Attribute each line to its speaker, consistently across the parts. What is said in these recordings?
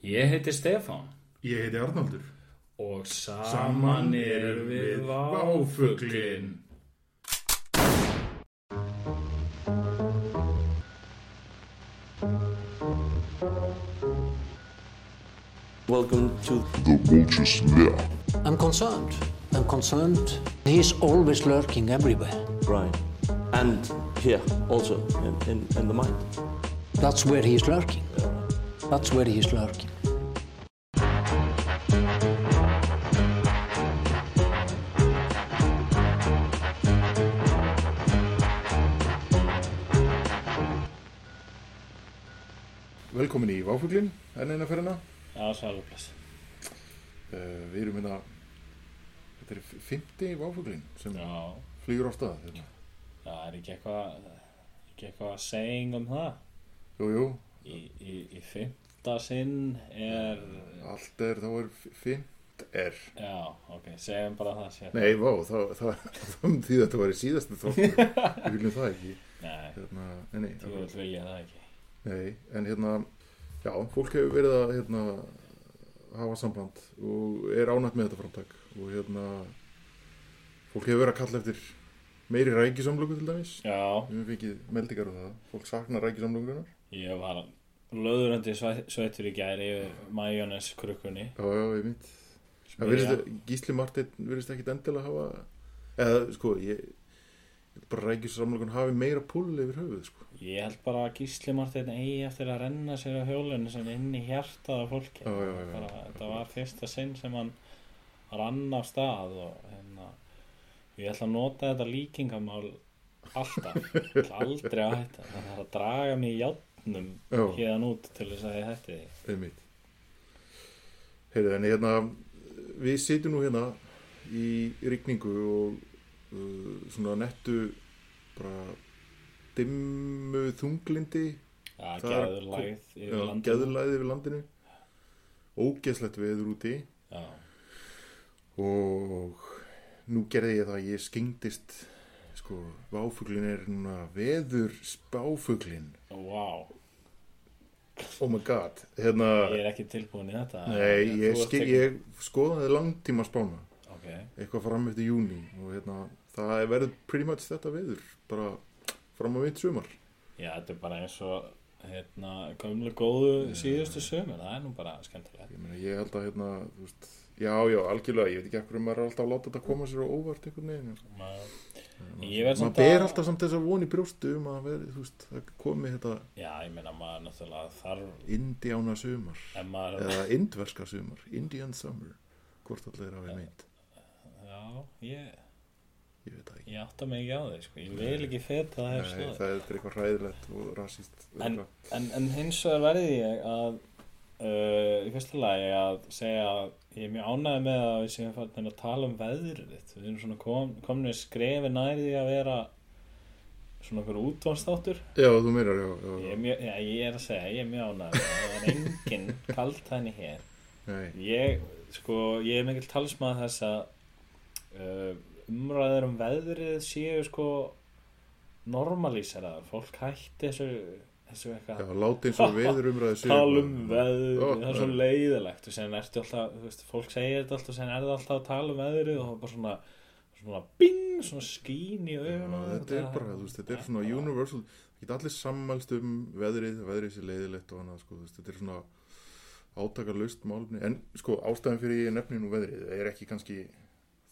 Speaker 1: Ég heiti Stefán
Speaker 2: Ég heiti Arnaldur.
Speaker 1: og saman erum við váfuglinn.
Speaker 3: Welcome to.
Speaker 4: I'm concerned. I'm concerned. He's always lurking everywhere.
Speaker 3: Right. And here also in, in, in the mind.
Speaker 4: That's where he's lurking. That's where he's lurking.
Speaker 2: Velkomin í Váfuglinn, enn eina ferðina.
Speaker 1: Já, sælum bless.
Speaker 2: Uh, við erum hérna, þetta er fymti Váfuglinn sem
Speaker 1: Já,
Speaker 2: flýgur á stað. Hérna.
Speaker 1: það er ekki eitthvað, ekki eitthvað að segja um það.
Speaker 2: Jú, jú,
Speaker 1: Í, í, í fymta sinn er,
Speaker 2: allt er, þá er fymt er.
Speaker 1: já, ok, segjum bara það sér.
Speaker 2: Nei, vá, þá, þá, þá um því að þetta var í síðasta þáttur. Við viljum það ekki.
Speaker 1: Nei,
Speaker 2: Hérna, nei, nei,
Speaker 1: þú vil vilja það ekki.
Speaker 2: nei, en hérna, já, fólk hefur verið að hérna, hafa samband og er ánætt með þetta framtak. Og hérna, fólk hefur verið að kalla eftir meiri rækisamlöku til dæmis.
Speaker 1: Já,
Speaker 2: Við höfum fengið meldingar á það. Fólk saknar rækisamlökunar.
Speaker 1: ég var löðurandi sveitur í gæri yfir majónes krukkunni.
Speaker 2: Já, já, ég mynd. Virist, Gísli Martin virðist ekkit endilega hafa... Eða, sko, ég... ég held Bara rækisamlökun hafi meira púl yfir höfuð, sko.
Speaker 1: Ég held bara að Gísli Martin eigi eftir að renna sér á hjólunni sem er inn í hjartað af fólki.
Speaker 2: Já, já, já.
Speaker 1: Bara, þetta var fyrsta sinn sem hann rann af stað og hérna, ég ætla að nota þetta líkingamál alltaf, ég ætla aldrei að hætta. Það þarf að draga mig í játnum
Speaker 2: Já.
Speaker 1: hérðan út til þess að ég hætti því.
Speaker 2: Ég mynd. Heyrðu, en hérna... Við sitjum nú hérna í rigningu og uh, svona nettu bara dimmu þunglindi
Speaker 1: Það, það
Speaker 2: Það er-
Speaker 1: geðurlægð yfir
Speaker 2: já,
Speaker 1: landinu.
Speaker 2: geðlæði yfir landinu ógeðslegt veður úti
Speaker 1: Já,
Speaker 2: og nú gerði ég það að ég skengdist sko, váfuglin er núna veður spáfuglin
Speaker 1: wow.
Speaker 2: oh my god hérna,
Speaker 1: Ég er ekki tilbúin í þetta.
Speaker 2: nei,
Speaker 1: Þú
Speaker 2: ég,
Speaker 1: ert
Speaker 2: ske,
Speaker 1: ekki-
Speaker 2: ég skoðaði langtíma spána
Speaker 1: Ok,
Speaker 2: eitthvað fram eftir júni og hérna, það er verið pretty much þetta veður bara fram á mitt sumar
Speaker 1: já, þetta er bara eins og hérna, gömlu góðu síðustu sömur, það er nú bara skemmtilegt.
Speaker 2: ég, meina, ég held að hérna, þú veist, já, já, algjörlega ég veit ekki ekkur um maður er alltaf að láta þetta koma sér á óvart einhvern veginn sko.
Speaker 1: Maður- ég verð
Speaker 2: maður
Speaker 1: samt
Speaker 2: ber alltaf samt þess að voni brjóstu um að veri, þú veist, það komi þetta
Speaker 1: já, ég meina maður náttúrulega þarf
Speaker 2: indjána sumar
Speaker 1: en maður,
Speaker 2: eða indverska sumar, Indian summer hvort allir hafið meint
Speaker 1: já, ég,
Speaker 2: ég veit það ekki
Speaker 1: ég átta mig ekki á því sko. ég vil ekki feta það
Speaker 2: Nei,
Speaker 1: hefst
Speaker 2: það er eitthvað hræðilegt og rasist
Speaker 1: en,
Speaker 2: örugglega.
Speaker 1: en, en hins vegar verði ég að uh, í fyrsta lagi að segja að ég er mjög ánægð með að við séum farin að tala um veðrið þitt við erum svona kom, komin skrefi nær því að vera svona okkur útvansþáttur
Speaker 2: já, þú meinar, já, já,
Speaker 1: ég,
Speaker 2: já.
Speaker 1: er mjög- já, ég er að segja, ég er mjög ánægð með það. það er engin kalt henni hér
Speaker 2: Nei,
Speaker 1: Ég, sko, ég er mikill talsmaður þess að uh, umræður um veðrið séu sko normalíseraðar, fólk hætti þessu, þessu
Speaker 2: já,
Speaker 1: eitthvað
Speaker 2: láti eins og veður umræði
Speaker 1: tala um veðrið,
Speaker 2: Ó,
Speaker 1: það er svo leiðilegt og sen ertu alltaf, þú veist, fólk segir þetta alltaf og sen er það alltaf að tala um veðrið og það er bara svona svona bing, svona skín í augun og
Speaker 2: þetta er bara, þú veist, þetta er svona universal það geta allir sammælst um veðrið veðrið sé leiðilegt og annað, sko, þú veist, þetta er svona átakarlaust málumni en sko, ástæðan fyrir ég nefni nú veðrið er ekki kannski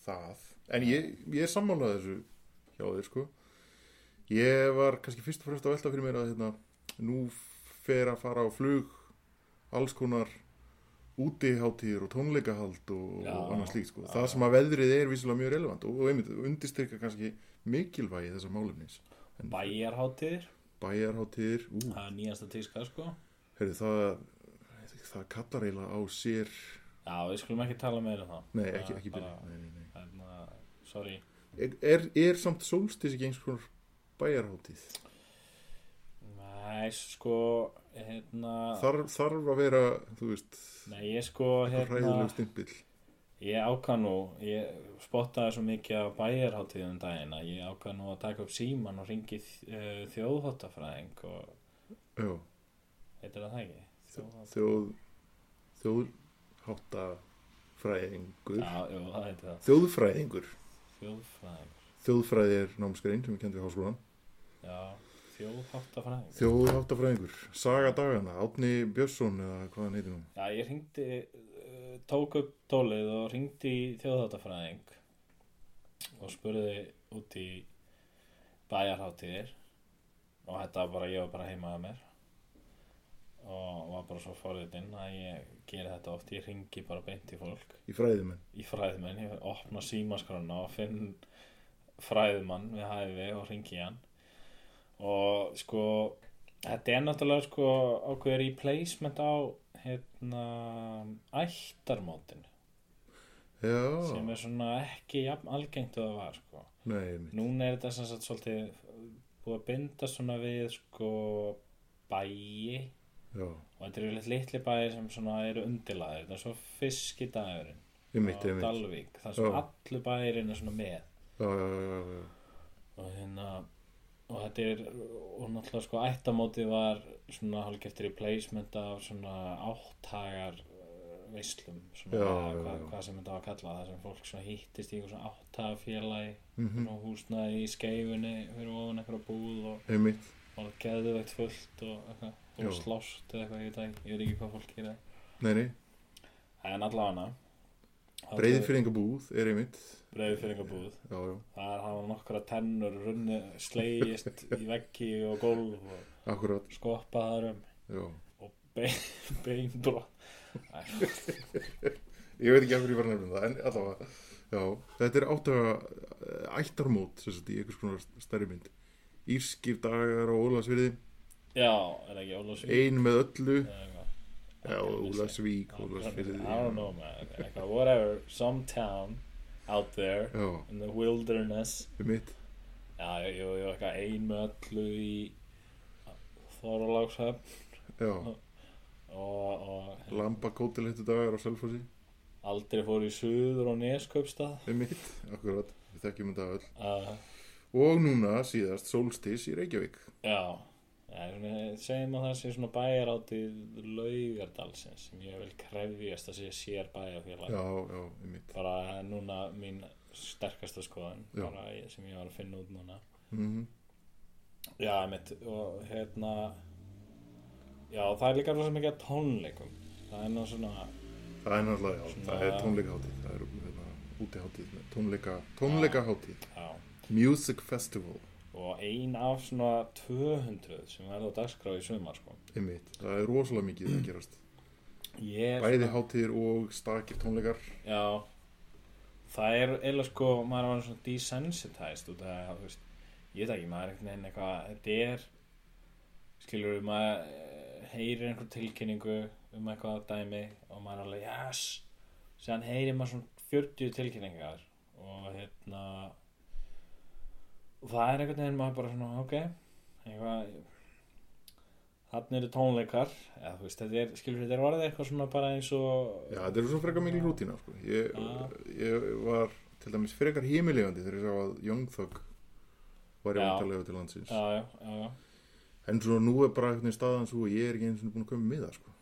Speaker 2: það en ég, ég er sammálað þessu hjá þér, sko ég var kannski fyrst og fremst að velta fyrir mér að hérna, nú fer að fara á flug alls konar útiháttíður og tónleikahald og,
Speaker 1: Já,
Speaker 2: og annað slíkt sko. það sem að veðrið er vísilega mjög relevant og, og einmitt undirstyrka kannski mikilvægi þessa málefnis
Speaker 1: bæjarháttir,
Speaker 2: bæjarháttíður, ú,
Speaker 1: það er nýjasta tíska sko
Speaker 2: heyrðu það það kallar eiginlega á sér
Speaker 1: já, við skulum ekki tala meira um það
Speaker 2: nei, ekki, ekki byrja
Speaker 1: Bara-
Speaker 2: nei, nei, nei.
Speaker 1: Þarna, sorry
Speaker 2: Er, er, er samt sólstis ekki eins konar bæjarháttíð
Speaker 1: Nei, sko, hérna,
Speaker 2: þarf, þarf að vera, þú veist
Speaker 1: nei, ég sko, hérna,
Speaker 2: hræðilegu stimpill
Speaker 1: ég ákvað nú, ég spottaði svo mikið af bæjarháttíðum daginn að ég ákvað nú að taka upp síman og ringi uh, þjóðháttafræðing og
Speaker 2: já,
Speaker 1: heitir það það ekki? Þjóðhátt-
Speaker 2: þjóð þjóðháttafræðingur
Speaker 1: Já, jú, það heitir það.
Speaker 2: þjóðfræðingur,
Speaker 1: Þjóðfræðingur.
Speaker 2: þjóðfræði er námskrein sem við kenndi við háskólan
Speaker 1: Já, þjóðháttafræðingur.
Speaker 2: Þjóðháttafræðingur, Saga dagana, Átni Björnsson eða hvað hann heitir nú
Speaker 1: Já, ég ringdi, eh, tók upp tólið og ringdi í þjóðháttafræðing og spurði út í bæjarháttíðir og þetta var bara, ég var bara heimaða mér og var bara svo forðutinn að ég geri þetta oft, ég ringi bara beint í fólk
Speaker 2: í fræðimenn.
Speaker 1: í fræðmenn, ég opna símaskrána og finn fræðmann við hæfi og ringi hann og sko þetta er náttúrulega sko ákveður í placement á hérna ættarmótin
Speaker 2: Já,
Speaker 1: sem er svona ekki jafn algengt og það var sko
Speaker 2: nei, einmitt.
Speaker 1: núna er þetta sem sagt svolítið búið að binda svona við sko bæi
Speaker 2: já,
Speaker 1: og þetta eru yfirleitt litli bæi sem svona eru undirlaðir þetta er svo fiskidagurinn
Speaker 2: einmitt,
Speaker 1: á
Speaker 2: einmitt.
Speaker 1: Dalvík þar sem
Speaker 2: Já.
Speaker 1: allur bæirinn er svona með
Speaker 2: Já, já, já, já, já.
Speaker 1: og hérna og þetta er, og náttúrulega sko ættamótið var svona hálfgert replacement af svona áttagar eh, veislum svona
Speaker 2: Já,
Speaker 1: hvað,
Speaker 2: já,
Speaker 1: hvað,
Speaker 2: já.
Speaker 1: hvað sem þetta var að kalla þar sem fólk svona hittist í einhver svona áttagafélagi
Speaker 2: Mm
Speaker 1: og húsnaði í skeifunni fyrir ofan eitthvað búð og
Speaker 2: Einmitt,
Speaker 1: var geðveikt fullt og eitthvað
Speaker 2: Já.
Speaker 1: og slást eða eitthvað, ég veit, ekki- ég veit ekki hvað fólk gerir
Speaker 2: nei, nei,
Speaker 1: en allavega
Speaker 2: breiði fyrir er einmitt.
Speaker 1: breiði fyrir einhver búð
Speaker 2: Já, já,
Speaker 1: Það hafa nokkra tennur runni slegist í veggi og gólf og
Speaker 2: akkurat,
Speaker 1: skoppaðar um
Speaker 2: já.
Speaker 1: og bein, beinbrot. Æ,
Speaker 2: Ég veit ekki af hverju ég var að nefnum það, en allavega, já. Þetta er áttaga ættarmót, sem sagt, í einhvers konar stærri mynd. Írskir dagar á Ólasviði,
Speaker 1: Já, er það ekki Ólafsvík?
Speaker 2: ein með öllu,
Speaker 1: eða eitthvað?
Speaker 2: já, Ólasvík, Ólasviði.
Speaker 1: I don't know man, eitthvað, whatever, some town out there
Speaker 2: Já,
Speaker 1: in the wilderness.
Speaker 2: einmitt,
Speaker 1: Já, jú, jú, jú, eitthvað ein með öllu í Þorlákshöfn
Speaker 2: já.
Speaker 1: og, og
Speaker 2: Lamba kótilegtu dagar á Selfossi,
Speaker 1: aldrei fór í suður og neskaupstað.
Speaker 2: einmitt, akkurat, við þekkjum þetta öll.
Speaker 1: Uh,
Speaker 2: Og núna síðast Solstis í Reykjavík.
Speaker 1: Já, já svona, segjum að það sé svona bæjar áttið laugardalsins sem ég vil krefjast að sé sér bæjarfélag
Speaker 2: Já, já, einmitt.
Speaker 1: bara núna mín sterkasta skoðan
Speaker 2: Já.
Speaker 1: bara ég, sem ég var að finna út núna
Speaker 2: Mm
Speaker 1: Já, mitt, og hérna Já, það er líka rosa mikið af tónleikum það er nú svona
Speaker 2: Það er náttúrulega, já, það er tónleikaháttíð. Það er hérna, útiháttíð, með tónleika, tónleikaháttíð.
Speaker 1: já,
Speaker 2: Music Festival,
Speaker 1: og ein af svona 200 sem verður á dagskrá í sumar sko.
Speaker 2: einmitt. Það er rosalega mikið að gerast.
Speaker 1: ég,
Speaker 2: Bæði háttíðir og stakir tónleikar.
Speaker 1: Já Það er eða sko, maður er orðinn svona desensitized út af því að, þú veist, ég veit ekki, maður er einhvern veginn eitthvað, þetta er, skilur við, maður eh, heyrir einhver tilkynningu um eitthvað dæmi og maður er alveg, yes, séðan heyrir maður svona 40 tilkynningar og hérna, og það er einhvern veginn maður bara svona, ok, eitthvað, þarna eru tónleikar, eða þú veist, þetta er, skilur við, þetta er orðið eitthvað svona bara eins og,
Speaker 2: Já, þetta er svona frekar mikil rútína, sko. Ég,
Speaker 1: Já.
Speaker 2: ég var til dæmis frekar himilegandi þegar ég sá að Young Thug var ég
Speaker 1: Já.
Speaker 2: að tala yfir til landsins.
Speaker 1: já, já, já, já.
Speaker 2: En svona nú er bara einhvern veginn staðan svo og ég er ekki eins og búin að koma með það, sko.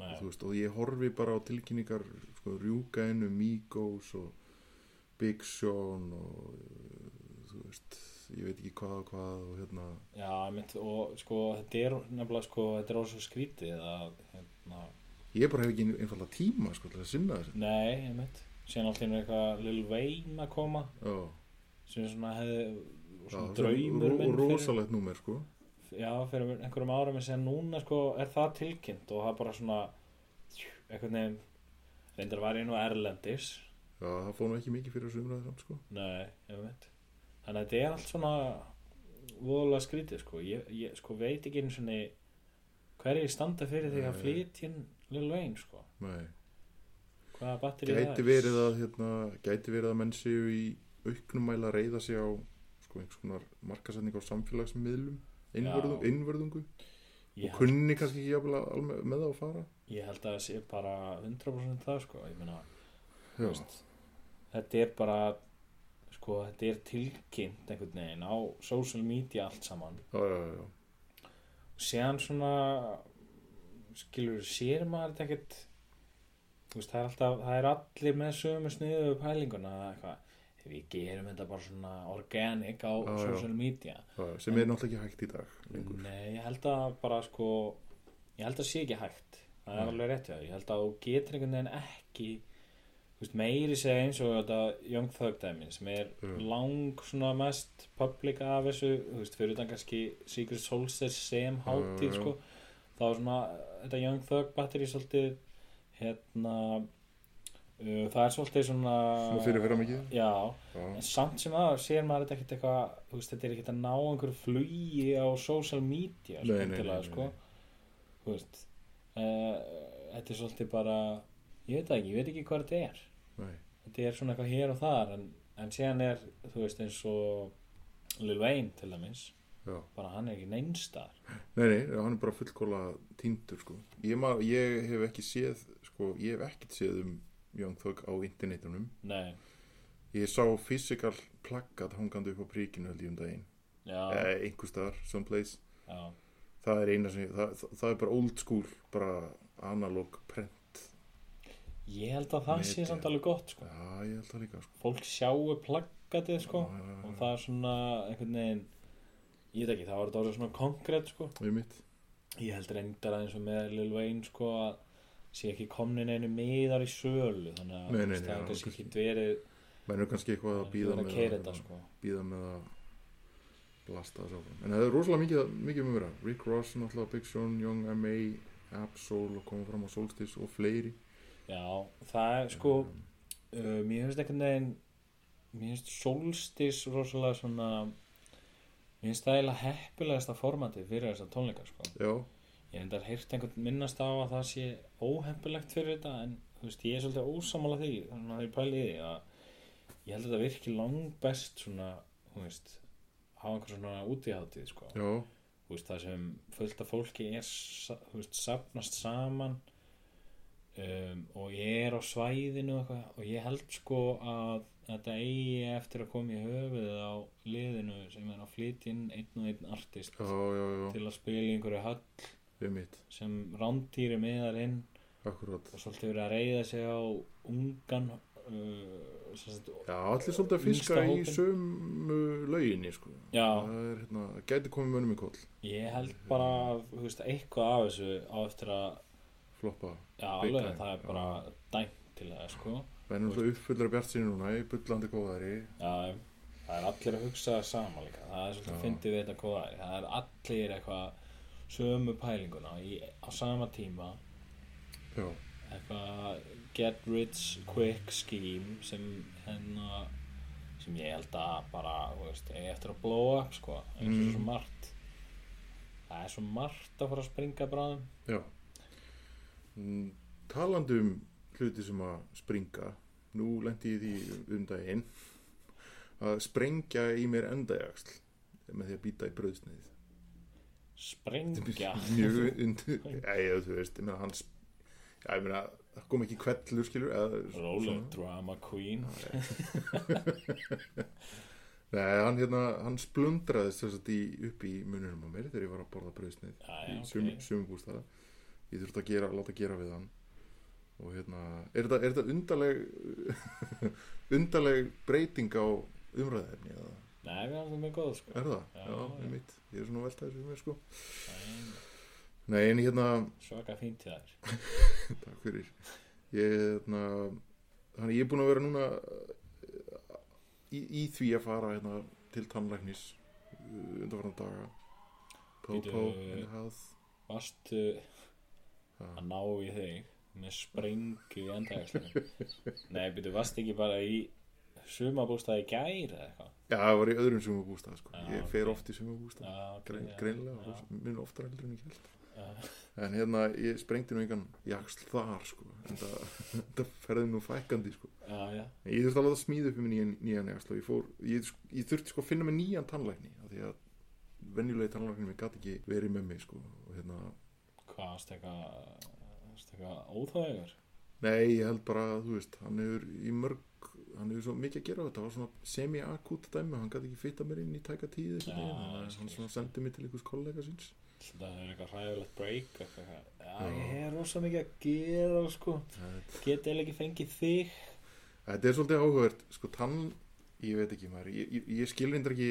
Speaker 1: Nei,
Speaker 2: þú veist, og ég horfi bara á tilkynningar sko, Rjúkainu, Migos og Big Sean og uh, þú veist ég veit ekki hvað og hvað og hérna
Speaker 1: já, mynd, og sko þetta er nefnilega sko, þetta er orðið svo skrítið að, hérna,
Speaker 2: ég bara hef ekki einfalda tíma sko til að sinna þessu
Speaker 1: nei, ég mynd, síðan alltaf er eitthvað Lil Wayne að koma,
Speaker 2: já,
Speaker 1: sem svona hefði,
Speaker 2: já,
Speaker 1: svona
Speaker 2: svo
Speaker 1: draumur
Speaker 2: ro-
Speaker 1: minn fyrir,
Speaker 2: rosalegt númer sko
Speaker 1: já, fyrir einhverjum árum en síðan núna sko, er það tilkynnt og það er bara svona, einhvern veginn, reyndar var ég nú erlendis,
Speaker 2: já, það fór nú ekki mikið fyrir þessu umræði samt sko
Speaker 1: nei, ég mynd, þannig að þetta er allt svona voðalega skrítið sko, ég, ég sko veit ekki einu svona hverjir standa fyrir því að
Speaker 2: Nei.
Speaker 1: flytja inn Lil Wayne sko.
Speaker 2: Nei.
Speaker 1: Hvaða batteri
Speaker 2: gæti verið að hérna, gæti verið að menn séu í auknumæla að reyða sig á sko einhvers konar markasetning á samfélagsmiðlum innvörðung,
Speaker 1: Já.
Speaker 2: innvörðungu
Speaker 1: ég,
Speaker 2: og kunni kannski ekki jafnvel alveg með það að fara
Speaker 1: held- ég held að það sé bara 100% það sko Ég meina, þú
Speaker 2: já,
Speaker 1: veist, þetta er bara sko, þetta er tilkynnt einhvern veginn á social media allt saman
Speaker 2: já, já, já, já.
Speaker 1: og séðan svona skilur sér maður þetta ekkert þú veist, það er alltaf, það er allir með sömu sniðu pælinguna eða eitthvað, ef við gerum þetta bara svona organic á
Speaker 2: já.
Speaker 1: social media
Speaker 2: Já, sem er náttúrulega ekki hægt í dag lengur.
Speaker 1: Nei, ég held að bara sko ég held að sé ekki hægt það er alveg rétt hjá þér. ég held að þú getur einhvern veginn ekki þú veist, meiri segja eins og þetta Young Thug dæmin sem er
Speaker 2: Mm.
Speaker 1: lang svona mest public af þessu þú veist, fyrir utan kannski Secret Solstice sem hátíð
Speaker 2: Mm.
Speaker 1: sko þá er svona þetta Young Thug batteri svolítið hérna uh, það er svolítið svona
Speaker 2: Svona fyrir vera mikið
Speaker 1: Já,
Speaker 2: Já.
Speaker 1: en samt sem það sér maður þetta ekkert eitthvað, þú veist, þetta er ekkert að ná einhverju flugi á social media sko,
Speaker 2: Nei, nei, nei,
Speaker 1: endilega,
Speaker 2: nei,
Speaker 1: sko. Þú veist, uh, þetta er svolítið bara, ég veit það ekki, ég veit ekki hvað þetta er.
Speaker 2: Nei.
Speaker 1: Þetta er svona eitthvað hér og þar, en, en síðan er, þú veist, eins og Lil Wayne til dæmis,
Speaker 2: Já.
Speaker 1: bara hann er ekki neinstar.
Speaker 2: Nei, nei, hann er bara fullkóla týndur sko. ég, ma, ég hef ekki séð sko, ég hef ekkert séð um Young Thug á internetunum
Speaker 1: Nei,
Speaker 2: ég sá physical plakkat hangandi upp á príkinu held ég um daginn
Speaker 1: já,
Speaker 2: eh, einhvers staðar, someplace
Speaker 1: já,
Speaker 2: það er eina sem ég, það, það, það er bara old school bara analog print
Speaker 1: ég held að það sé
Speaker 2: Media.
Speaker 1: samt alveg gott, sko.
Speaker 2: já, ég held það líka sko.
Speaker 1: fólk sjáu plaggatið sko
Speaker 2: Já, já, já, já.
Speaker 1: og það er svona einhvern veginn ég veit ekki, það var þetta orðið svona konkrétt sko
Speaker 2: ég mitt
Speaker 1: ég held reyndar aðeins og með Lil Wayne sko að sé ekki komnin einu miðar í sölu þannig að
Speaker 2: Nei,
Speaker 1: þú
Speaker 2: nei,
Speaker 1: veist,
Speaker 2: nei,
Speaker 1: það
Speaker 2: já,
Speaker 1: er kannski
Speaker 2: kannski.
Speaker 1: ekki verið
Speaker 2: menn er kannski eitthvað að
Speaker 1: verið
Speaker 2: býða
Speaker 1: að keira þetta sko
Speaker 2: býða með að blasta þessu áfram en það er rosalega mikið, mikið um að vera Rick Ross, náttúrulega Big Sean, Young M.A. Absol og koma fram á Solstis og fleiri
Speaker 1: já, það er sko
Speaker 2: Mm.
Speaker 1: uh, mér finnst einhvern veginn mér finnst solstis rosalega svona mér finnst það eiginlega heppilegasta formatið fyrir þessa tónleika sko
Speaker 2: já,
Speaker 1: Ég reyndar heyrt einhvern minnast á að það sé óhempilegt fyrir þetta en þú veist, ég er svolítið ósamála því þannig að ég pæli í því að ég held að þetta virki langbest svona, þú veist, hafa einhver svona útiháttið, sko.
Speaker 2: já,
Speaker 1: Þú veist, það sem fullt af fólki er, sa- þú veist, safnast saman um, og ég er á svæðinu og eitthvað og ég held sko að þetta eigi eftir að koma í höfuðið á liðinu sem er að flytja inn einn og einn artist
Speaker 2: já, já, já
Speaker 1: til að spila í einhverju höll
Speaker 2: ég mitt,
Speaker 1: sem rándýri miðar inn
Speaker 2: akkurat
Speaker 1: og svolítið verið að reyða sig á ungan uh, sem sagt,
Speaker 2: já, allir svolítið að fiska
Speaker 1: Yngsta
Speaker 2: í
Speaker 1: hópinn.
Speaker 2: sömu lauginni sko.
Speaker 1: já,
Speaker 2: það er hérna, það gæti komið mönnum í koll
Speaker 1: ég held bara að þú veist, eitthvað af þessu á eftir að
Speaker 2: floppa,
Speaker 1: já,
Speaker 2: Big
Speaker 1: alveg,
Speaker 2: time,
Speaker 1: það er
Speaker 2: já.
Speaker 1: bara dæmt til það, sko
Speaker 2: menn er náttúrulega uppfullar af bjart sinni núna í bullandi góðari
Speaker 1: já, það er allir að hugsa það sama líka, það er svolítið
Speaker 2: Já.
Speaker 1: að fyndi við þetta hvað það er, það er allir eitthvað sömu pælinguna í, á sama tíma
Speaker 2: já,
Speaker 1: eitthvað get rich quick scheme sem hérna sem ég held að bara þú veist, eigi eftir að blow up sko eins og
Speaker 2: Mm.
Speaker 1: svo margt það er svo margt að fara að springa bráðum
Speaker 2: já Mm, talandi um hluti sem að springa nú lendi ég í því um daginn að sprengja í mér endajaksl með því að býta í brauðsnið
Speaker 1: springja
Speaker 2: mjög undur eða þú veist, ég meina hans já, ég meina, það kom ekki kvellur skilur eða,
Speaker 1: roller
Speaker 2: svona.
Speaker 1: drama queen
Speaker 2: Nei, hann hérna, hann splundraðist þess að upp í mununum á mér þegar ég var að borða brauðsnið
Speaker 1: já,
Speaker 2: í
Speaker 1: já,
Speaker 2: sum,
Speaker 1: ok.
Speaker 2: sumum bústæða ég þurfti að gera, láta gera við hann og hérna er þetta, er þetta undarleg undarleg breyting á umræðefni eða
Speaker 1: nei, við erum með góð sko
Speaker 2: er það?
Speaker 1: Já,
Speaker 2: já,
Speaker 1: já.
Speaker 2: ég mitt, ég er svona veltaðis við mér sko
Speaker 1: Nei,
Speaker 2: nei en hérna,
Speaker 1: svaka fínt í þær
Speaker 2: takk fyrir ég hérna hann ég er búin að vera núna eh, í, í því að fara hérna til tannlæknis undanfarnan daga Pópó
Speaker 1: Bíddu. eh,
Speaker 2: in the house
Speaker 1: varstu
Speaker 2: Já.
Speaker 1: að ná í þig með springu í endagæslinu nei, byrju, varstu ekki bara í sumabústaði gæri eða eitthvað
Speaker 2: Já, það var í öðrum sumabústað sko.
Speaker 1: Já,
Speaker 2: Ég fer
Speaker 1: ok.
Speaker 2: oft í sumabústað
Speaker 1: Já, ok,
Speaker 2: Grein,
Speaker 1: já.
Speaker 2: greinlega,
Speaker 1: Já.
Speaker 2: rosa- mun oftar heldur en ég held
Speaker 1: Já.
Speaker 2: en hérna, ég sprengti nú engan jaksl þar sko, en það, það ferði nú fækandi sko,
Speaker 1: já, já,
Speaker 2: en ég þurfti alveg að smíða upp um nýjan, nýjan jaksl og ég fór, ég, sk- ég þurfti sko að finna mig nýjan tannlækni, af því að venjulegi tannlæknir mér gati ekki verið með mig sko, og hérna,
Speaker 1: hvað varstu eitthvað varstu eitthvað óþægur
Speaker 2: nei, ég held bara þú veist, hann hefur í mörg hann hefur svo mikið að gera þetta, var svona semi-akút dæmi, hann gati ekki fitta mér inn í tæka tíð,
Speaker 1: Já,
Speaker 2: ja,
Speaker 1: ég skil.
Speaker 2: hann svona sendi mig til einhvers kollega síns
Speaker 1: Þetta er eitthvað hræðilegt break eitthvað. eitthvað. Já, ég er rosa mikið að gera sko. Get eða ekki fengið þig
Speaker 2: Þetta er svolítið áhugavert, sko tann, ég veit ekki maður, ég, ég, ég skil reyndar ekki,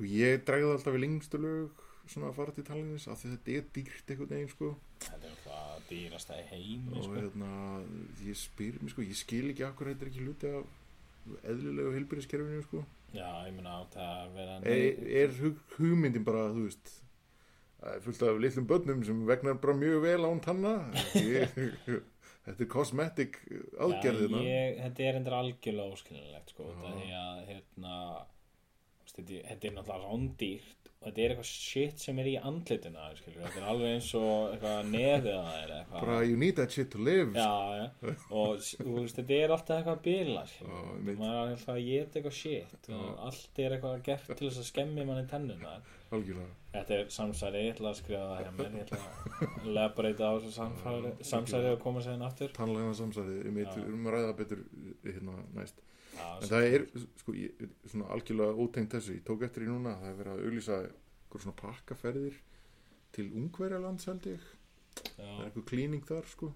Speaker 2: jú, ég dræði alltaf í lengstu lög svona að fara til tannlæknis af því þetta er dýrt einhvern veginn sko
Speaker 1: Þetta er eitthvað dýrasta í heimi
Speaker 2: og
Speaker 1: sko.
Speaker 2: hérna, ég spyr mér sko, ég skil ekki akkur þetta er ekki hluti af eðlilegu heilbyrðiskerfinu sko
Speaker 1: Já, ég meina átt að vera
Speaker 2: er, er hug, hugmyndin bara, þú veist það er fullt af litlum börnum sem vegnar bara mjög vel án tanna ég, þetta er cosmetic aðgerðina
Speaker 1: Já, ég, þetta er endur algjörlega óskilinlegt sko, út af
Speaker 2: Já.
Speaker 1: því að hérna, þú veist, þetta, þetta er náttúrulega rándýrt og þetta er eitthvað shit sem er í andlitina skilur, þetta er alveg eins og eitthvað nefið að það er eitthvað
Speaker 2: bara you need that shit to live sko.
Speaker 1: já, já, og s- þú veist, þetta er alltaf eitthvað bila
Speaker 2: Já,
Speaker 1: skilur,
Speaker 2: einmitt.
Speaker 1: maður er alltaf að geta eitthvað shit og allt er eitthvað gert til þess að skemmi manni tennuna
Speaker 2: algjörlega
Speaker 1: Þetta er samsæri, ég ætla að skrifa það hjá mér, ég ætla að lebreyta á þessu samfæri- samsæri og koma sér inn aftur.
Speaker 2: tannlæðina samsæðið um eitt,
Speaker 1: Já.
Speaker 2: við erum að ræða það betur hérna næst
Speaker 1: Já,
Speaker 2: en það er sko, ég, svona algjörlega ótegnt þessu, ég tók eftir í núna það er verið að auglýsa einhver svona pakkaferðir til ungverjalands held ég það er
Speaker 1: já,
Speaker 2: einhver klíning þar sko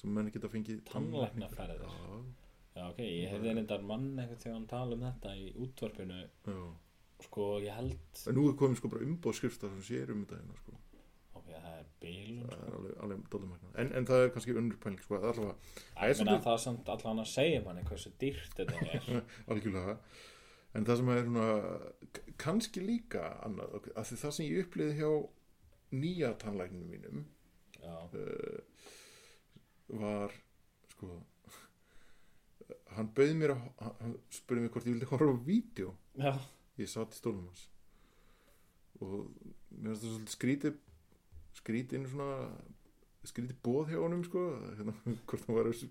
Speaker 2: sem menn geta fengið
Speaker 1: Tannlæknaferðir.
Speaker 2: já,
Speaker 1: já, ok, ég hefði reyndar mann eitthvað þegar hann tala um þetta í útvarpinu,
Speaker 2: já.
Speaker 1: sko, ég held,
Speaker 2: en nú er komið sko bara umbóðskrifta sem sér um þetta hérna sko
Speaker 1: ok, það er bílun,
Speaker 2: það er alveg, alveg dálum hérna en, en það er kannski önnur pæling sko, það er allavega
Speaker 1: ég meina
Speaker 2: svolítið-
Speaker 1: það er samt allan að segja manni hversu dýrt þetta er.
Speaker 2: algjörlega en það sem er svona k- kannski líka annað ok, af því það sem ég upplýði hjá nýja tannlækninu mínum
Speaker 1: Já,
Speaker 2: Eh, var sko hann bauði mér að hann- hann spurði mér hvort ég vildi horfa á vídeo
Speaker 1: já,
Speaker 2: ég satt í stólum hans og mér finnst það svolítið skrítið skrítið svona skrítið bóð hjá honum sko hérna, hvort hann var að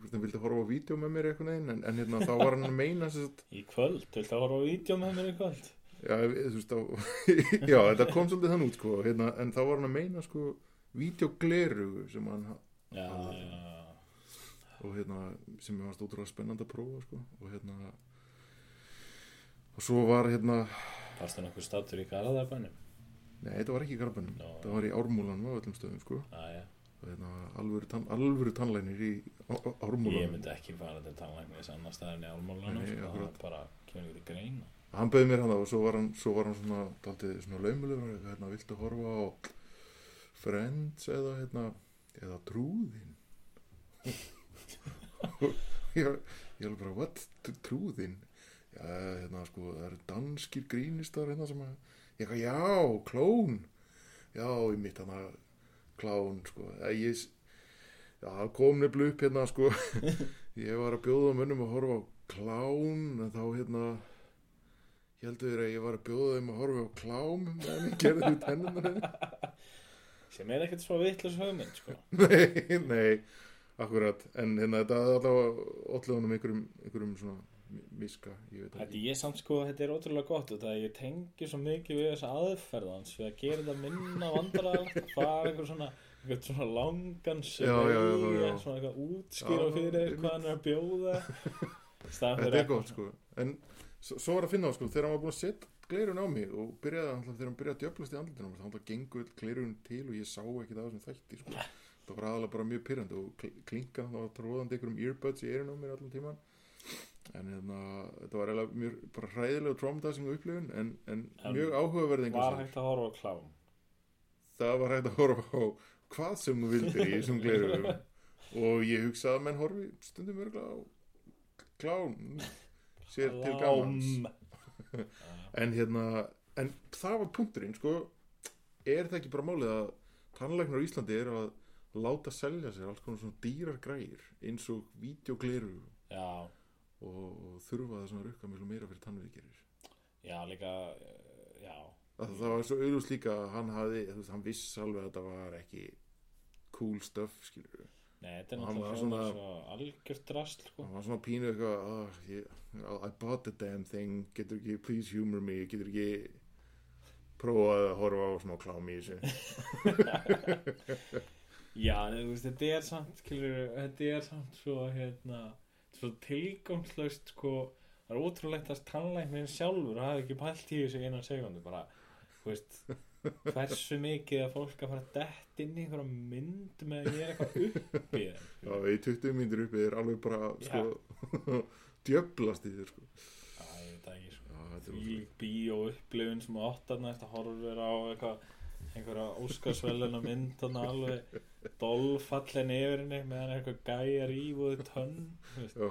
Speaker 2: hvort hann vildi horfa á vídeo með mér eitthvað neginn en, en hérna, þá var hann að meina sem sagt,
Speaker 1: í kvöld, viltu að horfa á vídeo með mér í kvöld?
Speaker 2: Já, ef- þú veist, á, já, þetta kom svolítið þann út, sko, hérna, en þá var hann að meina, sko, vídeogleru sem hann, ha-
Speaker 1: Já, já, já.
Speaker 2: og hérna, sem ég varst ótrúlega spennandi að prófa, sko, og hérna, og svo var, hérna,
Speaker 1: Varstu nokkuð stattur í Garðabænum?
Speaker 2: nei, þetta var ekki í Garbanum,
Speaker 1: Nó.
Speaker 2: það var í Ármúlanum á öllum stöðum, sko,
Speaker 1: Já, já,
Speaker 2: og hérna, alvöru, tann, alvöru tannlænir í Á- Á-
Speaker 1: ég
Speaker 2: Ármúlanum.
Speaker 1: myndi ekki fara til tannlæknis annar staðar en í álmálanum,
Speaker 2: Nei,
Speaker 1: sko, það
Speaker 2: akkurat.
Speaker 1: er bara kemur ekki til greina.
Speaker 2: Hann bauði mér hann og svo var hann, svo var hann svona, daldið svona laumulegur, hérna, viltu horfa á Friends eða, hérna, eða Trúðin? ég, ég alveg bara, what, Tr- Trúðin? Já, hérna, sko, það eru danskir grínistar, hérna, sem að, ég eitthvað, já, klón, já, ég mitt hana, klón, sko, Eh, ég, s- já, það kom nefnilega upp, hérna, sko, ég var að bjóða mönnum að horfa á klán, en þá, hérna, ég heldur þér að ég var að bjóða þeim að horfa á klám meðan ég gerði því tennunar
Speaker 1: Sem er ekkert svo vitlaus hugmynd, sko.
Speaker 2: nei, nei, akkurat en hérna þetta er allavega ótlöðunum einhverjum, einhverjum svona mi- miska, ég veit
Speaker 1: Þetta
Speaker 2: ekki
Speaker 1: ég samt sko, þetta er ótrúlega gott og það að ég tengi svo mikið við þessa aðferðans við að gera þetta minna vandræðalegt að fara einhver svona, einhver svona langan sem
Speaker 2: já, já, já.
Speaker 1: svona eitthvað útskýra
Speaker 2: Já,
Speaker 1: fyrir þér hvað
Speaker 2: einmitt.
Speaker 1: hann er að bjóða Staðan
Speaker 2: þetta er
Speaker 1: fyrir
Speaker 2: gott sko, en svo, svo var að finna á sko, þegar hann var búin að setja gleirun á mig og byrjaði, alltaf, þegar hann byrjaði að djöflast í andlutinu þá alltaf gengur gleirun til og ég sá ekki það sem þætti sko. það var aðalega bara mjög pyrrandi og kl- klinkan, það var tróðandi einhverjum earbuds í eirun á mér allan tíman en hérna, þetta var eiginlega mjög bara hræðilega traumatizing upplifun en, en,
Speaker 1: En
Speaker 2: mjög áhugaverð engu að
Speaker 1: Var
Speaker 2: síður.
Speaker 1: hægt að horfa á klám
Speaker 2: það var hægt að horfa á hvað sem þú vildir í þessum glerum og ég hugsaði að menn horfi stundum örgulega á klán sér til gamans
Speaker 1: Klám
Speaker 2: en hérna, en það var punkturinn sko, er það ekki bara málið að tannlæknar á Íslandi eru að láta selja sér alls konar svona dýrar græir eins og vídeogleru
Speaker 1: Já,
Speaker 2: og þurfa það svona rukka mjög meira fyrir tannviðgerir
Speaker 1: já, líka eh, Já,
Speaker 2: að það var svo auðvist líka að hann hafði, þú veist, hann viss alveg að þetta var ekki cool stuff, skilur við
Speaker 1: nei, þetta er
Speaker 2: Og hann
Speaker 1: náttúrulega
Speaker 2: var
Speaker 1: svona
Speaker 2: svona-
Speaker 1: svo algjört drast sko.
Speaker 2: hann var svona pínu eitthvað oh, ég, I bought the damn thing getur ekki, please humor me getur ekki prófað að horfa á smá klám í þessu
Speaker 1: Já, en þú veist, þetta er samt, kilur, þetta er samt svo, hérna, svo tilgangslaust, sko, það er ótrúlegt að tannlæknin sjálfur hafi ekki pælt í þessu innan segundu, bara, þú veist, hversu mikið að fólk að fara að dett inn í einhverja mynd með að gera eitthvað upp í þeim
Speaker 2: Já, í 20 mínútur uppi er alveg bara sko, djöblast í þér sko.
Speaker 1: Æ, ég veit það ekki sko
Speaker 2: Já, þetta er
Speaker 1: Því bíó upplifun sem áttarna eftir horfir á eitthvað einhverja óskarsveluna mynd þarna alveg dolfallin yfir henni meðan eitthvað gæja rífuð tönn þú veist,
Speaker 2: Já,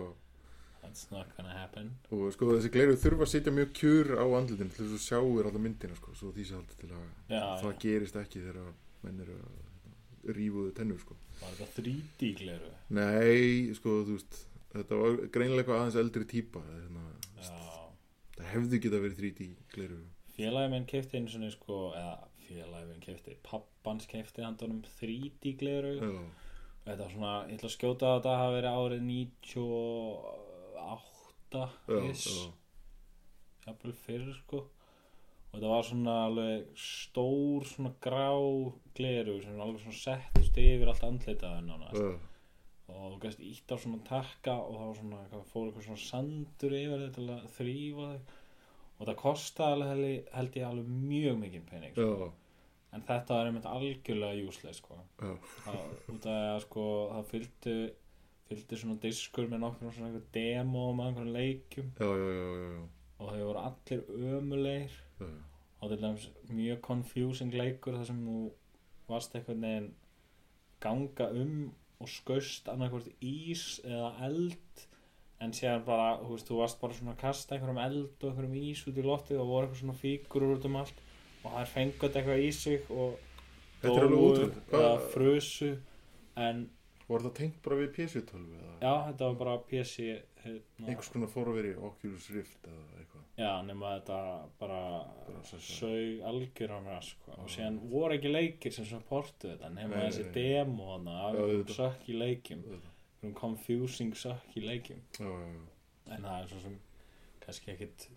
Speaker 1: that's not gonna happen
Speaker 2: og sko þessi gleru þurfa að sitja mjög kjur á andlutin til þess að sjáir alla myndina sko, svo því sé haldið til að
Speaker 1: já,
Speaker 2: það
Speaker 1: já,
Speaker 2: gerist ekki þegar menn eru að hérna, rífuðu tennur sko.
Speaker 1: var þetta 3D gleru
Speaker 2: Nei, sko, þú veist þetta var greinilega eitthvað aðeins eldri típa hérna,
Speaker 1: já,
Speaker 2: það hefði geta verið 3D gleru
Speaker 1: félagi minn kefti einu svona sko, eða félagi minn kefti pappans kefti handunum 3D gleru
Speaker 2: Já,
Speaker 1: Þetta var svona, ég ætla að skjóta að þetta hafi verið árið 98
Speaker 2: já,
Speaker 1: ish,
Speaker 2: já,
Speaker 1: jafnvel fyrir sko og þetta var svona alveg stór svona grá gleru sem var alveg svona settust yfir allt andlitað hennar
Speaker 2: já,
Speaker 1: og þú gæst ítt á svona takka og það var svona, hvað, fór eitthvað svona sandur yfir þetta til að þrýfa þau og það kostaði alveg held- held ég alveg mjög mikið pening sko.
Speaker 2: já,
Speaker 1: en þetta var einmitt algjörlega júslega sko
Speaker 2: já,
Speaker 1: það, út af að sko það fylgdu fylgdu svona diskur með nokkrum svona einhver demo með einhverjum leikjum
Speaker 2: já, já, já, já, já,
Speaker 1: og þau voru allir ömulegir
Speaker 2: já,
Speaker 1: og til dæmis mjög confusing leikur þar sem þú varst einhvern veginn ganga um og skaust annarkvort ís eða eld en séðan bara, þú veist, þú varst bara svona að kasta einhverjum eld og einhverjum ís út í loftið og voru eitthvað svona fígurur út um allt og það er fengat eitthvað í sig og
Speaker 2: Þetta er alveg ótrúlegt.
Speaker 1: eða
Speaker 2: Hvað-
Speaker 1: frusu en
Speaker 2: Var það tengt bara við PC-tölvu eða
Speaker 1: Já, þetta var bara PC hérna,
Speaker 2: einhvers konar forveri Oculus Rift eða eitthvað?
Speaker 1: Já, nema þetta bara
Speaker 2: Bara sem sagt.
Speaker 1: sög algjör á mér sko. og síðan voru ekki leikir sem supportu þetta nema
Speaker 2: Nei, nei,
Speaker 1: þessi
Speaker 2: nei.
Speaker 1: demo hana af
Speaker 2: Já,
Speaker 1: einhverjum
Speaker 2: auðvitað.
Speaker 1: sökk í leikjum
Speaker 2: Auðvitað.
Speaker 1: einhverjum confusing sökk í leikjum
Speaker 2: Já, já, já,
Speaker 1: en það er svo sem kannski ekkit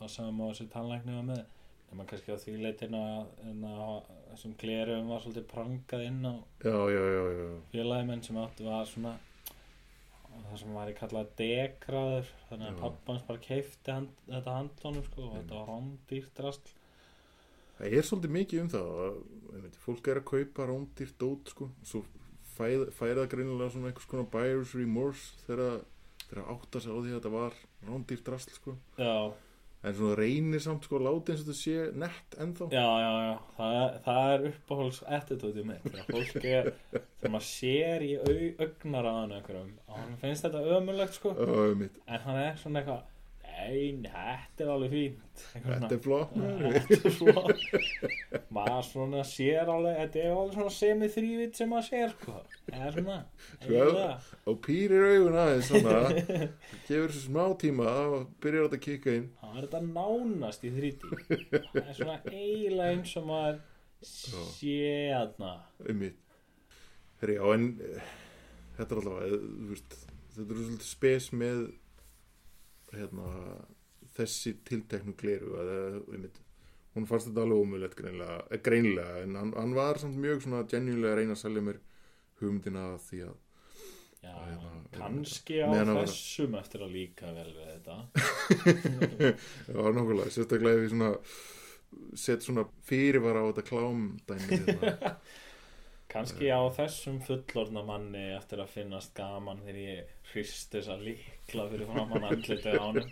Speaker 1: það sem má þessi tannlækni var með nema kannski á því leitin að en að þessum glerum var svolítið prangað inn á
Speaker 2: já, já, já, já, já.
Speaker 1: félagi minn sem áttu var svona það sem var í kallað degraður þannig að
Speaker 2: Já.
Speaker 1: pappans bara keifti hand, þetta handlónum sko og þetta var rándýrtrasl
Speaker 2: Það er svolítið mikið um það að, einmitt, fólk er að kaupa rándýrt dót sko, svo fæð, færa það greinilega svona einhvers konar buyer's remorse þegar það- þegar það átta sig á því að þetta var rándýrt drasl sko.
Speaker 1: já,
Speaker 2: en svona reynir samt sko láti eins og þetta sé nett ennþá
Speaker 1: já, já, já það, er- það er uppáhalds attitúti mitt þegar fólk er, þegar maður sér í au, augnaraðan einhverjum og hann finnst þetta ömulegt sko
Speaker 2: Ö, mitt,
Speaker 1: en hann er svona eitthvað nei, nei, þetta er alveg fínt Eitthvað svona-
Speaker 2: Þetta er flott maður.
Speaker 1: Þetta er svo maður svona sér alveg þetta er alveg svona semi-þrývit sem maður sér sko. eða svona eiginlega.
Speaker 2: og pýrir augun aðeins svona, gefur þessu smá tíma og byrjar þetta að kika inn
Speaker 1: það er þetta nánast í þríti það er svona eiginlega eins og maður sé þarna
Speaker 2: um mitt Herri, já, en eh, þetta er allavega, eh, þú veist, þetta er svolítið spes með hérna, þessi tilteknu gleru að, eh, um mitt, hún fannst þetta alveg ómulegt greinlega, eh, greinlega en hann, hann var samt mjög svona genjulega að reyna að selja mér hugmyndina af því að
Speaker 1: Já,
Speaker 2: Já, hérna,
Speaker 1: kannski á
Speaker 2: meðan að vera-
Speaker 1: þessum eftir að líka vel við þetta
Speaker 2: það var nokkulega, sérstaklega ef ég svona sett svona fyrirvara á þetta klámdæmi hérna.
Speaker 1: kannski á þessum fullorna manni eftir að finnast gaman þegar ég hrist þess að líkla fyrir framann andlitið á hann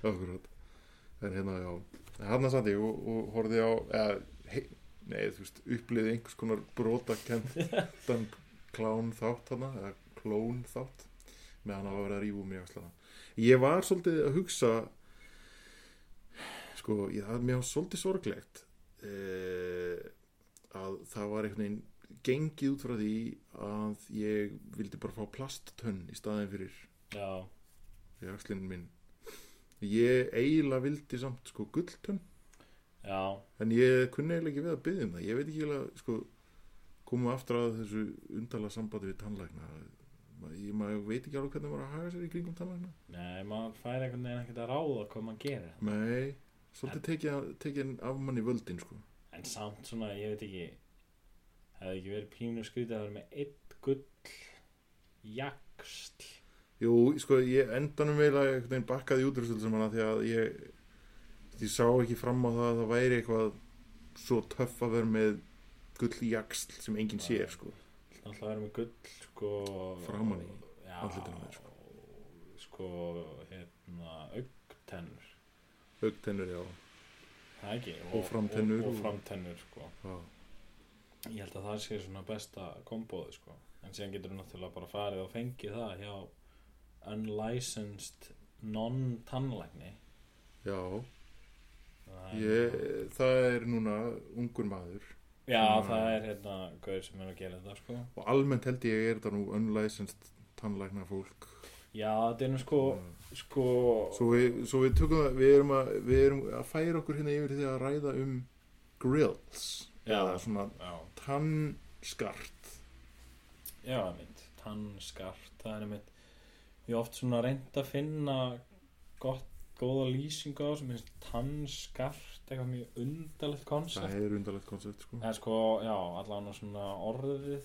Speaker 2: Akkurat En hérna, já Hanna satt ég og, og horfði á eða, hei, Nei, þú veist, upplýði einhvers konar brotakendan klán þátt hana eða klón þátt með hann að vera að rífa um í axlana Ég var svolítið að hugsa sko, ég, það er mér var svolítið sorglegt eh, að það var einhvern veginn gengið út frá því að ég vildi bara fá plasttönn í staðin fyrir
Speaker 1: Já,
Speaker 2: í axlinn minn ég eiginlega vildi samt sko gulltönn
Speaker 1: já,
Speaker 2: en ég kunni eiginlega ekki við að byggja um það ég veit ekki eiginlega sko koma aftur að þessu undarlega sambandi við tannlækna Ma- ég maður veit ekki alveg hvernig maður á að haga sér í kringum tannlækna
Speaker 1: Nei, maður fær einhvern veginn ekkert að ráða hvað maður gerir.
Speaker 2: nei, svolítið tekið, tekið af manni völdin sko
Speaker 1: En samt svona, ég veit ekki, hefði ekki verið pínu skrítið að vera með einn gull, jaksl.
Speaker 2: Jú, sko, ég endanum eiginlega einhvern veginn bakkaði út úr þessu sem hana því að ég, ég sá ekki fram á það að það væri eitthvað svo töff að vera með gull í jaksl sem enginn sér sko.
Speaker 1: alltaf að vera með gull sko,
Speaker 2: Framan í
Speaker 1: já,
Speaker 2: andlitinu á þér,
Speaker 1: sko. hérna, augtennur
Speaker 2: augtennur, já,
Speaker 1: það er ekki
Speaker 2: Og framtennur.
Speaker 1: og, og framtennur sko.
Speaker 2: já,
Speaker 1: ég held að það sé svona besta komboði sko. en síðan getur við náttúrulega bara farið og fengið það hjá unlicensed non-tannlækni
Speaker 2: já.
Speaker 1: Það er-
Speaker 2: Ég, það er núna ungur maður
Speaker 1: já
Speaker 2: svona-
Speaker 1: það er hérna gauður sem er að gera þetta sko.
Speaker 2: og almennt held ég er þetta nú unlicensed tannlækna fólk
Speaker 1: já þetta er nú sko, sko
Speaker 2: svo við, svo við tökum það við erum, að, við erum að færa okkur hérna yfir því að ræða um grills
Speaker 1: Já.
Speaker 2: eða svona
Speaker 1: já
Speaker 2: tannskart
Speaker 1: Já, mitt, tannskart, það er mitt Ég hef oft svona reynd að finna gott, góða lýsingu á sem finnst tannskart, eitthvað mjög undarlegt konsept
Speaker 2: það er undarlegt koncept sko.
Speaker 1: En sko, já, allavega svona orðið,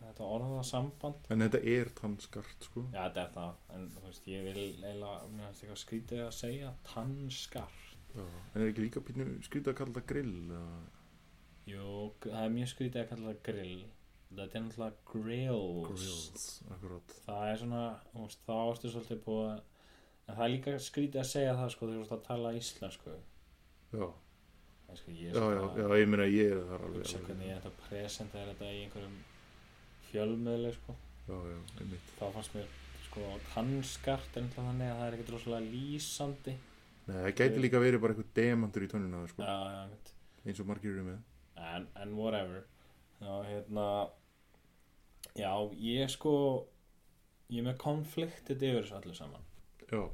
Speaker 1: þetta orðasamband
Speaker 2: en þetta er tannskart sko.
Speaker 1: Já, þetta er það, en þú veist, ég vil eiginlega, mér finnst eitthvað skrítið að segja tannskart
Speaker 2: Já. en er ekki líka pínu skrýta að kalla þetta grill eða?
Speaker 1: Jú, gr- það er mjög skrítið að kalla það grill Þetta er náttúrulega grills
Speaker 2: grills, akkurat
Speaker 1: það er svona, þú veist, þá ertu svolítið búið að en það er líka skrítið að segja það sko þegar þú ert að tala íslensku
Speaker 2: já,
Speaker 1: Það er sko, ég
Speaker 2: já,
Speaker 1: er
Speaker 2: já,
Speaker 1: svona
Speaker 2: já, ég meina ég er það
Speaker 1: að
Speaker 2: alveg,
Speaker 1: hugsa
Speaker 2: alveg.
Speaker 1: hvernig ég ætla að presenta þér þetta í einhverjum fjölmiðli sko
Speaker 2: já, já, einmitt
Speaker 1: þá fannst mér sko tannskart er náttúrulega þannig að það er ekkert rosalega lýsandi já,
Speaker 2: Nei, það gæti líka verið bara eitthvað demantur í tönnuna sko.
Speaker 1: já, mitt
Speaker 2: eins og margir eru með
Speaker 1: en, en whatever já, hérna já, ég sko ég er með konfliktið yfir þessu allir saman
Speaker 2: já,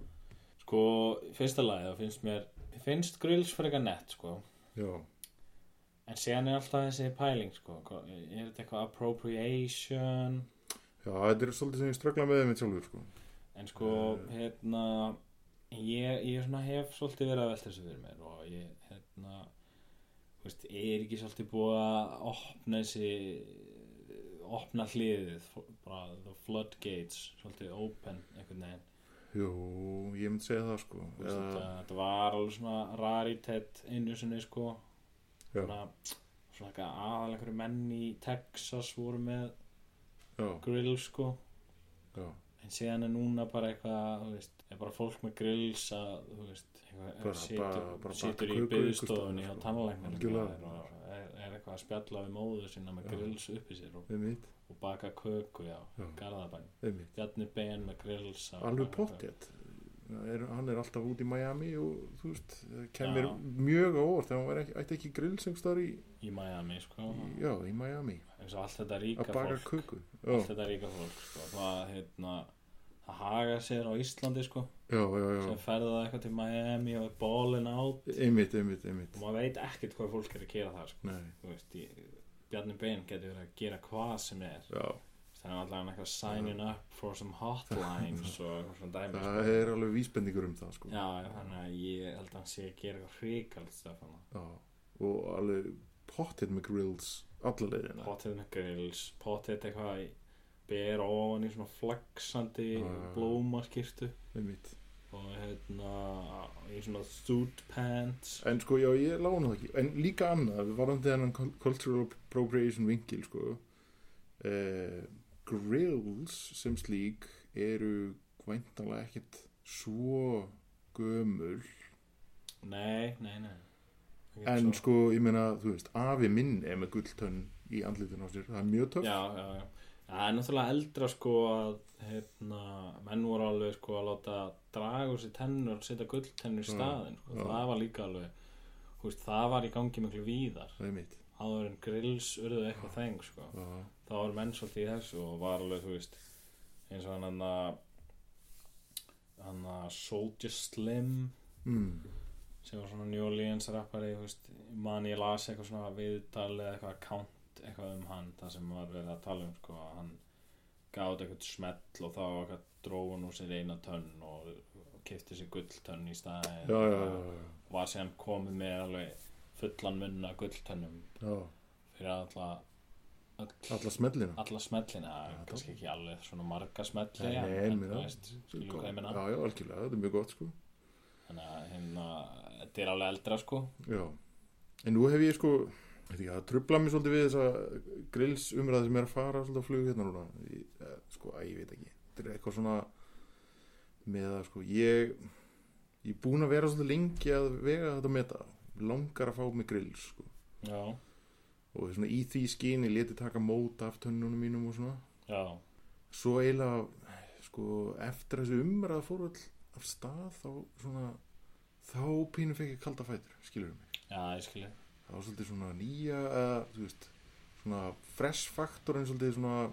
Speaker 1: sko, í fyrsta lagi þá finnst mér finnst grills frekar nett sko
Speaker 2: já,
Speaker 1: En síðan er alltaf þessi pæling, sko, hva- er þetta eitthvað appropriation,
Speaker 2: já, þetta er svolítið sem ég ströggla með þeim sjálfur sko.
Speaker 1: en sko,
Speaker 2: Eh.
Speaker 1: hérna, ég, ég svona hef svolítið verið að velta þessu fyrir mér og ég, hérna, þú veist, er ekki svolítið búið að opna þessi, opna hliðið, fó- bara the floodgates, svolítið open, einhvern veginn.
Speaker 2: Jú, ég myndi segja það sko
Speaker 1: Þú veist,
Speaker 2: Já,
Speaker 1: Þetta, þetta var alveg svona raritet einu sinni sko
Speaker 2: Já.
Speaker 1: svona, svona eitthvað aðal einhverju menn í Texas voru með
Speaker 2: já,
Speaker 1: grill sko
Speaker 2: já
Speaker 1: en síðan er núna bara eitthvað þú veist, er bara fólk með grills að þú veist, eitthvað
Speaker 2: Bara-
Speaker 1: situr,
Speaker 2: bara- bara
Speaker 1: situr
Speaker 2: baka
Speaker 1: í
Speaker 2: köku einhvers
Speaker 1: byggstofunni hjá
Speaker 2: staðar, sko.
Speaker 1: tannlæknum
Speaker 2: Algjörlega.
Speaker 1: og er, er eitthvað að spjalla við móður sína með
Speaker 2: Já.
Speaker 1: grills uppi sér og,
Speaker 2: Einmitt,
Speaker 1: og baka köku já,
Speaker 2: Já.
Speaker 1: garðabæn
Speaker 2: einmitt
Speaker 1: Bjarni Ben með grills að-
Speaker 2: Alveg pottjætt er, Hann er alltaf út í Miami og þú veist það kemur
Speaker 1: Já.
Speaker 2: mjög á óvart þegar hann væri ekki, ætti ekki grill sem staðar í,
Speaker 1: í Miami sko
Speaker 2: í Já, í Miami
Speaker 1: eins og allt þetta ríka
Speaker 2: að baka
Speaker 1: fólk
Speaker 2: köku
Speaker 1: allt
Speaker 2: Já,
Speaker 1: þetta ríka fólk sko, það, hérna, það haga sér á Íslandi sko,
Speaker 2: já, já,
Speaker 1: sem
Speaker 2: já
Speaker 1: ferða það eitthvað til Miami og er bólin át
Speaker 2: Einmitt, einmitt, einmitt
Speaker 1: og maður veit ekkert hvað fólk er að gera það sko.
Speaker 2: Nei,
Speaker 1: Þú veist, ég, Bjarni Ben getur verið að gera hvað sem er
Speaker 2: já,
Speaker 1: þannig að allan eitthvað signing up for some hotlines og eitthvað svona dæmi sko.
Speaker 2: það er alveg vísbendingur um það sko
Speaker 1: já, þannig að ég held að hann sé að gera eitthvað hrikald stefana
Speaker 2: Já. Og alveg pottjætt með grills alla leiðina
Speaker 1: potið með grills, potið eitthvað í ber ofan í svona flaksandi
Speaker 2: Já, já, já.
Speaker 1: blómaskirtu
Speaker 2: Einmitt
Speaker 1: og hérna í svona suit pants
Speaker 2: En sko, já, ég lána það ekki. En líka annað, varandi þennan cul- cultural appropriation vinkil, sko, uh, grills sem slík eru væntanlega ekkit svo gömul.
Speaker 1: nei, nei, nei Ekki
Speaker 2: En
Speaker 1: svo-
Speaker 2: sko, ég meina, þú veist, afi minn er með gulltönn í andlitun á sér. Það er mjög töff.
Speaker 1: já, já, já það er náttúrulega eldra sko að hérna, menn voru alveg sko að láta draga úr sér tennur setja gulltennur í staðin sko.
Speaker 2: já.
Speaker 1: það var líka alveg þú veist, það var í gangi miklu víðar
Speaker 2: Það er mitt.
Speaker 1: áður en grills urðu eitthvað þeng sko.
Speaker 2: Já,
Speaker 1: þá var menn svolítið í þessu og var alveg þú veist eins og hann hann að hann að Soldier Slim
Speaker 2: mm,
Speaker 1: sem var svona New Orleans rappari þú veist, man ég las eitthvað svona viðtal eða eitthvað account eitthvað um hann það sem var verið að tala um sko að hann gáði eitthvað smell og þá var eitthvað dróðun úr sér eina tönn og, og kefti sér gulltönn í staðin
Speaker 2: já, já, já, já,
Speaker 1: og var síðan komið með alveg fullan munna gulltönnum
Speaker 2: já.
Speaker 1: fyrir alla all,
Speaker 2: Alla smellina.
Speaker 1: alla smellina
Speaker 2: Já,
Speaker 1: kannski
Speaker 2: það-
Speaker 1: ekki alveg svona marga smelli
Speaker 2: Nei,
Speaker 1: en-
Speaker 2: nei,
Speaker 1: en
Speaker 2: meina.
Speaker 1: þú veist, skiljum hvað ég meina
Speaker 2: Já, já, algjörlega, þetta er mjög gott, sko.
Speaker 1: þannig að hérna, þetta er alveg eldra sko
Speaker 2: Já, En nú hef ég sko, veit ekki, það trubla mér svolítið við þessa grills umræði sem er að fara svolítið á flug hérna núna. Ég, eh, sko, að ég veit ekki. Þetta er eitthvað svona með að sko, ég, ég er búin að vera svolítið lengi að vega þetta með þetta. Langar að fá mig grills, sko.
Speaker 1: já,
Speaker 2: Og svona í því skyni leti taka mót af tönnunum mínum og svona.
Speaker 1: já,
Speaker 2: Svo eiginlega, sko, eftir þessu umræða fór all af stað þá svona, þá pínu fekk ég kalda fætur, skilur mig.
Speaker 1: já, ég skilji
Speaker 2: það var svolítið svona nýja eða, þú veist, svona fresh faktorinn svolítið svona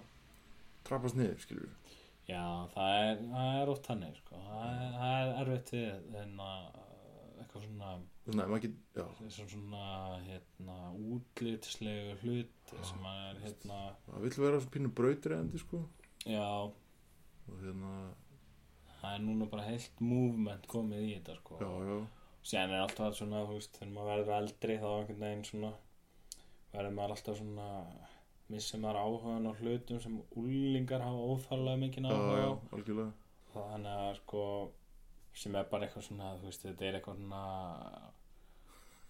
Speaker 2: trappast niður, skilur við
Speaker 1: Já, það er, það er oft þannig sko. það, er, það er erfitt við en að eitthvað svona,
Speaker 2: svona, ef maður get, já,
Speaker 1: svona, svona hérna, útlitslegu hlut sem að er hérna
Speaker 2: það vill vera svona pínu brautriðandi, sko
Speaker 1: já,
Speaker 2: og hérna,
Speaker 1: það er núna bara heilt movement komið í þetta sko.
Speaker 2: já, já,
Speaker 1: síðan er alltaf svona, þú veist, þegar maður verður eldri þá einhvern veginn svona verður maður alltaf svona missir maður áhugan á hlutum sem úlingar hafa óþarlega mikið
Speaker 2: já,
Speaker 1: áhuga
Speaker 2: já,
Speaker 1: á
Speaker 2: algjörlega
Speaker 1: þannig að sko sem er bara eitthvað svona þú veist, þetta er eitthvað svona